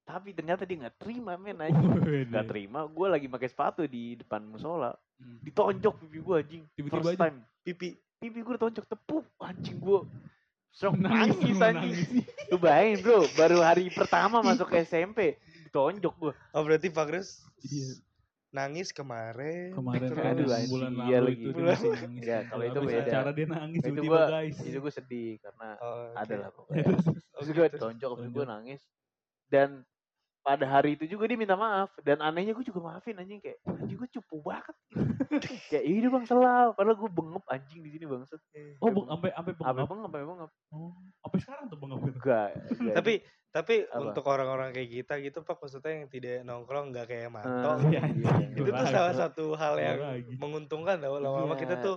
Speaker 3: Tapi ternyata dia nggak terima men aja.
Speaker 1: Gak
Speaker 3: Nggak terima, gue lagi pakai sepatu di depan musola ditonjok pipi gue anjing
Speaker 1: Tiba-tiba
Speaker 3: first
Speaker 1: aja.
Speaker 3: time
Speaker 2: Pipi.
Speaker 3: pipi gue ditonjok tepuk anjing gue shock
Speaker 1: Nangis,
Speaker 3: nangis
Speaker 1: lu
Speaker 3: anjing
Speaker 1: nangis.
Speaker 3: lu bayangin bro baru hari pertama masuk SMP ditonjok gue
Speaker 2: Oh berarti Fagres
Speaker 1: Iya.
Speaker 2: nangis kemarin.
Speaker 1: Kemarin
Speaker 2: terus-
Speaker 1: ada
Speaker 3: Aduh, anjing,
Speaker 1: bulan
Speaker 3: iya
Speaker 1: lalu
Speaker 3: lagi.
Speaker 1: itu dia
Speaker 2: Bulan-
Speaker 1: masih nangis.
Speaker 3: Ya, kalau itu
Speaker 1: Habis
Speaker 3: beda.
Speaker 1: Acara dia nangis
Speaker 3: Itu
Speaker 1: tiba-tiba
Speaker 3: gua- ya.
Speaker 1: guys.
Speaker 3: itu gue sedih karena
Speaker 2: Oh, oke.
Speaker 3: ada lah pokoknya
Speaker 1: Terus,
Speaker 2: Oh,
Speaker 3: terus gue
Speaker 2: gitu.
Speaker 3: ditonjok pipi gue
Speaker 1: Tonjok.
Speaker 3: nangis dan pada hari itu juga dia minta maaf dan anehnya gue juga maafin anjing kayak anjing gue cupu banget kayak ini bang salah padahal gue bengep anjing di sini bangset
Speaker 1: Oh, bang, sampai sampai
Speaker 3: apa
Speaker 1: pengap.
Speaker 3: bengep apa bengep
Speaker 1: Sampai sekarang tuh pengap.
Speaker 3: enggak iya, enggak.
Speaker 2: Tapi tapi
Speaker 3: Apa?
Speaker 2: untuk orang-orang kayak kita gitu Pak maksudnya yang tidak nongkrong nggak kayak
Speaker 3: Eh,
Speaker 2: Manto.
Speaker 1: iya,
Speaker 3: iya.
Speaker 1: anjing.
Speaker 2: itu tuh
Speaker 1: lagi.
Speaker 2: salah satu hal
Speaker 1: Gua
Speaker 2: yang
Speaker 1: lagi.
Speaker 2: menguntungkan tau lama-lama kita
Speaker 3: Iya.
Speaker 2: tuh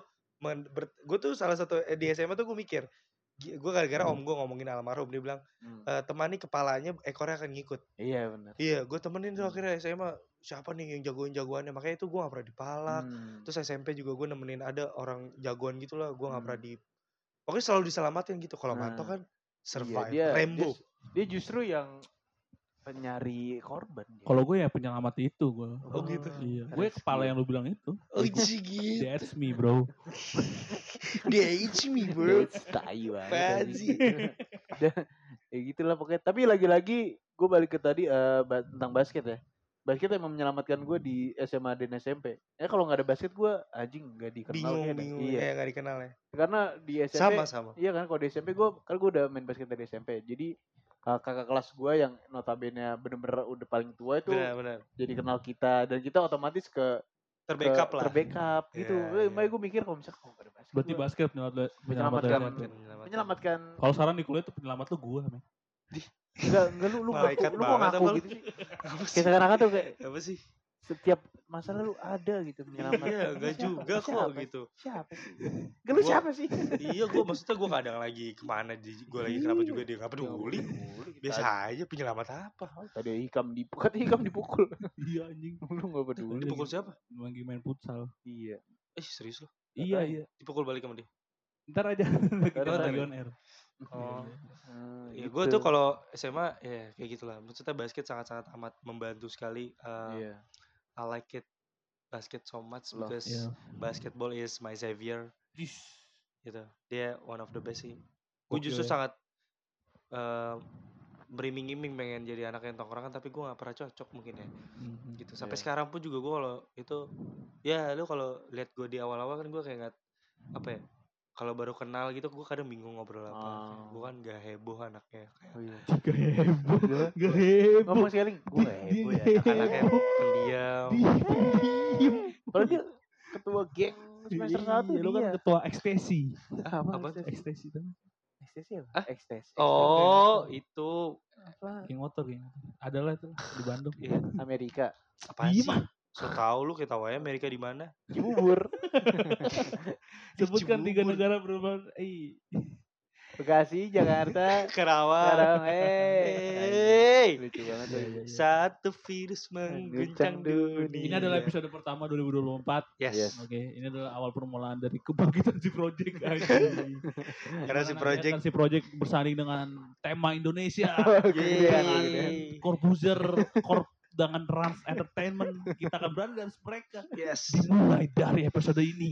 Speaker 2: gue tuh salah satu eh, di SMA tuh gue mikir gue gara-gara om gue ngomongin almarhum dia bilang
Speaker 3: Hmm.
Speaker 2: "Eh, temani kepalanya ekornya akan ngikut
Speaker 3: iya benar
Speaker 2: iya gue temenin
Speaker 3: Hmm.
Speaker 2: tuh akhirnya SMA siapa nih yang jagoin jagoannya makanya itu gue gak pernah dipalak
Speaker 3: Hmm.
Speaker 2: terus SMP juga gue nemenin ada orang jagoan gitu lah gue gak
Speaker 3: Hmm.
Speaker 2: pernah di pokoknya selalu diselamatin gitu kalau
Speaker 3: Nah,
Speaker 2: Manto kan survive
Speaker 3: dia-
Speaker 2: Rambo
Speaker 3: dia- Dia, justru yang penyari korban. dia.
Speaker 1: Kalau gue ya penyelamat itu gue.
Speaker 2: Oh, gitu.
Speaker 1: Iya. Gue
Speaker 3: Rescue.
Speaker 1: kepala yang lu bilang itu.
Speaker 2: oh gigi
Speaker 1: That's me bro.
Speaker 2: dia it's me bro
Speaker 3: That's tai banget,
Speaker 2: Panji.
Speaker 3: anjing. Udah, ya gitulah pokoknya. Tapi lagi-lagi gue balik ke tadi eh, ba- tentang basket ya. basket emang menyelamatkan gue di SMA dan SMP. Ya kalau nggak ada basket gue anjing nggak dikenal
Speaker 2: bingung
Speaker 3: kayaknya.
Speaker 2: bingung
Speaker 3: Iya.
Speaker 2: ya nggak dikenal ya
Speaker 3: Karena di SMP
Speaker 2: sama sama
Speaker 3: Iya kan kalau di SMP gue kan gue udah main basket dari SMP. Jadi uh, kakak kelas gue yang notabene bener-bener udah paling tua itu
Speaker 2: benar benar
Speaker 3: jadi kenal kita dan kita otomatis ke ke-
Speaker 2: terbackup lah
Speaker 3: terbackup gitu.
Speaker 2: Iya,
Speaker 3: Eh,
Speaker 2: iya.
Speaker 3: Makanya gue mikir kalau misalnya kalau nggak ada basket.
Speaker 1: Berarti
Speaker 3: gua
Speaker 1: basket menyelamat- menyelamatkan.
Speaker 2: ya.
Speaker 3: Menyelamatkan.
Speaker 2: menyelamatkan
Speaker 3: menyelamatkan
Speaker 1: Kalau saran di kuliah itu penyelamat tuh gue. men.
Speaker 3: enggak enggak lu lu ngaku
Speaker 2: Malaikat
Speaker 3: lu kok
Speaker 2: banget
Speaker 3: ngaku
Speaker 2: apa lu?
Speaker 3: gitu sih.
Speaker 2: apa
Speaker 3: Kayak
Speaker 2: sih
Speaker 3: sekarang tuh kayak
Speaker 2: apa sih
Speaker 3: setiap masalah lu ada gitu menyelamatkan.
Speaker 2: iya nggak
Speaker 3: Siapa?
Speaker 2: juga kok
Speaker 3: Siapa?
Speaker 2: gitu
Speaker 3: Siapa sih? Enggak lu
Speaker 2: Gua-
Speaker 3: siapa sih?
Speaker 2: iya gue maksudnya gue kadang lagi kemana gue
Speaker 3: Iya.
Speaker 2: lagi kenapa juga dia
Speaker 3: Ya
Speaker 2: nggak peduli biasa aja penyelamat apa
Speaker 3: Tadi hikam dipukul, kata hikam dipukul.
Speaker 1: Iya anjing.
Speaker 3: lu gak peduli.
Speaker 2: dipukul siapa
Speaker 1: Lagi main futsal.
Speaker 3: Iya.
Speaker 2: eh serius lo
Speaker 1: Iya
Speaker 3: tahu.
Speaker 1: iya.
Speaker 2: dipukul balik sama dia
Speaker 1: Ntar aja. Kita
Speaker 3: Ntar
Speaker 1: lagi
Speaker 2: ya.
Speaker 1: on air. Iya,
Speaker 2: oh
Speaker 3: Ah,
Speaker 2: Ya, gue
Speaker 3: Iya, gitu.
Speaker 2: tuh kalau SMA ya kayak gitulah. Maksudnya basket sangat-sangat amat membantu sekali. Uh,
Speaker 3: Iya.
Speaker 2: I like it basket so much
Speaker 3: Love,
Speaker 2: because
Speaker 1: Iya.
Speaker 2: basketball is my savior
Speaker 1: Dis.
Speaker 2: gitu. Dia one of the best sih. Gue
Speaker 1: Gokil
Speaker 2: justru
Speaker 1: ya.
Speaker 2: sangat uh, beriming-iming pengen jadi anak yang tongkrongan tapi gue nggak pernah cocok mungkin ya
Speaker 1: Mhm.
Speaker 2: gitu sampai
Speaker 3: Iya.
Speaker 2: sekarang pun juga gue kalau itu ya lu kalau lihat gue di awal-awal kan gue kayak nggak apa ya kalau baru kenal gitu gue kadang bingung ngobrol apa
Speaker 3: Ah.
Speaker 2: gue kan gak heboh anaknya kayak
Speaker 3: Oh, iya.
Speaker 1: Gak heboh.
Speaker 3: Gua-
Speaker 1: Gak heboh.
Speaker 3: Ngomong sekali, gue
Speaker 1: Dia-
Speaker 3: heboh ya.
Speaker 1: dia-
Speaker 2: anaknya
Speaker 3: Anak-anaknya.
Speaker 2: pendiam
Speaker 1: Diem.
Speaker 3: Padahal dia ketua geng semester
Speaker 1: Iya,
Speaker 3: satu
Speaker 1: lu kan
Speaker 3: dia.
Speaker 1: ketua ekstasi.
Speaker 3: Apa?
Speaker 2: apa tuh?
Speaker 3: Ekstasi.
Speaker 1: Ekstasi itu.
Speaker 3: Ekstasi apa?
Speaker 2: Hah?
Speaker 3: Ekstasi.
Speaker 2: Oh, itu
Speaker 3: Apa?
Speaker 1: Geng motor geng. motor. Adalah itu di Bandung.
Speaker 2: Iya.
Speaker 3: Amerika.
Speaker 2: apa
Speaker 1: Iya,
Speaker 2: sih? So tau lu kita wae Amerika di mana?
Speaker 3: Cibubur.
Speaker 1: Sebutkan tiga
Speaker 2: Cibubur.
Speaker 1: negara berubah. Eh,
Speaker 3: Bekasi, Jakarta.
Speaker 2: Karawang.
Speaker 3: Sekarang, eh.
Speaker 2: Hey,
Speaker 3: Lucu banget
Speaker 1: Iya,
Speaker 3: tuh.
Speaker 1: iya, iya.
Speaker 2: satu virus mengguncang
Speaker 3: Mengguncang dunia.
Speaker 2: dunia.
Speaker 1: Ini adalah episode pertama 2024.
Speaker 3: Yes.
Speaker 2: Yes.
Speaker 1: Oke, ini adalah awal permulaan dari kebangkitan si Project anjing.
Speaker 2: Karena si
Speaker 1: Dimana
Speaker 2: Project.
Speaker 1: nanti akan si Project bersanding dengan tema Indonesia.
Speaker 3: Gedean,
Speaker 1: Yeay.
Speaker 3: gedean.
Speaker 1: Corbuzier, Corp dengan Rans Entertainment. Kita akan berani dengan mereka.
Speaker 2: Yes.
Speaker 1: Dimulai dari episode ini.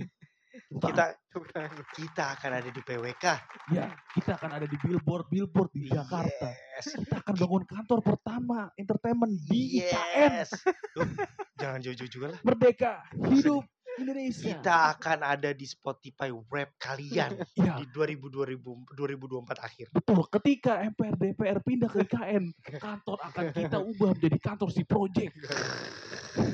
Speaker 2: Kita kita akan ada di PWK.
Speaker 1: Ya, kita akan ada di billboard billboard di Jakarta.
Speaker 2: Yes.
Speaker 1: Kita akan bangun kantor pertama entertainment di IKN.
Speaker 2: Yes. Duh, jangan jauh-jauh juga lah.
Speaker 1: Merdeka, hidup Indonesia.
Speaker 2: Kita akan ada di Spotify web kalian
Speaker 1: Ya,
Speaker 2: di 2000, 2024 akhir.
Speaker 1: betul. Ketika MPR DPR pindah ke IKN, kantor akan kita ubah menjadi kantor si Project.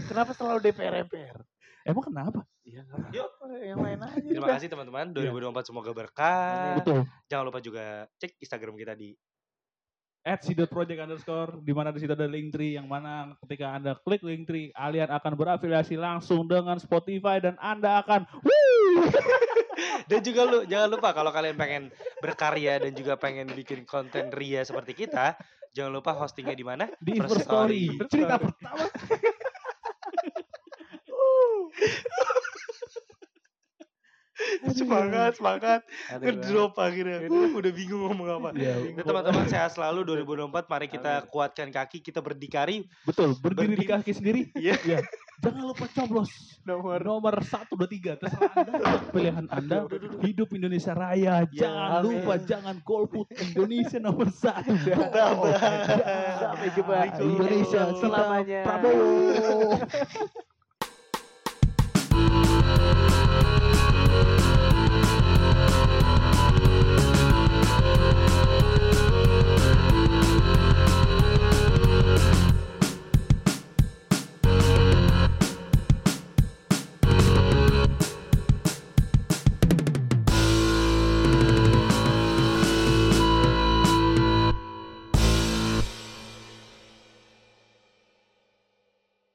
Speaker 3: Kenapa selalu DPR MPR?
Speaker 1: Emang kenapa?
Speaker 3: Iya, nggak apa-apa. Yang lain aja.
Speaker 2: Terima
Speaker 3: udah.
Speaker 2: kasih teman-teman. 2024 semoga berkah.
Speaker 1: Betul.
Speaker 2: Jangan lupa juga cek Instagram kita di
Speaker 1: At Project underscore, di mana di situ ada link tree yang mana ketika anda klik link tree, kalian akan berafiliasi langsung dengan Spotify dan anda akan Wuh!
Speaker 2: dan juga lu jangan lupa kalau kalian pengen berkarya dan juga pengen bikin konten ria seperti kita, jangan lupa hostingnya di mana?
Speaker 1: di
Speaker 2: First
Speaker 1: Story.
Speaker 2: Story.
Speaker 1: Cerita pertama.
Speaker 2: Semangat, semangat.
Speaker 3: Aduh,
Speaker 2: Ngedrop akhirnya. Uh, udah bingung ngomong apa.
Speaker 1: Ya,
Speaker 2: Nah, teman-teman sehat selalu 2024 mari kita kuatkan kaki, kita berdikari.
Speaker 1: betul. Berdiri di
Speaker 2: Berdiri.
Speaker 1: kaki sendiri.
Speaker 2: Iya.
Speaker 1: Iya. Jangan lupa coblos nomor nomor satu dua tiga terserah anda pilihan anda hidup Indonesia Raya jangan
Speaker 3: amin.
Speaker 1: lupa jangan golput Indonesia nomor satu
Speaker 2: Bye-bye.
Speaker 1: Jangan.
Speaker 3: Sampai jumpa.
Speaker 1: Indonesia
Speaker 3: selamanya.
Speaker 1: Prabowo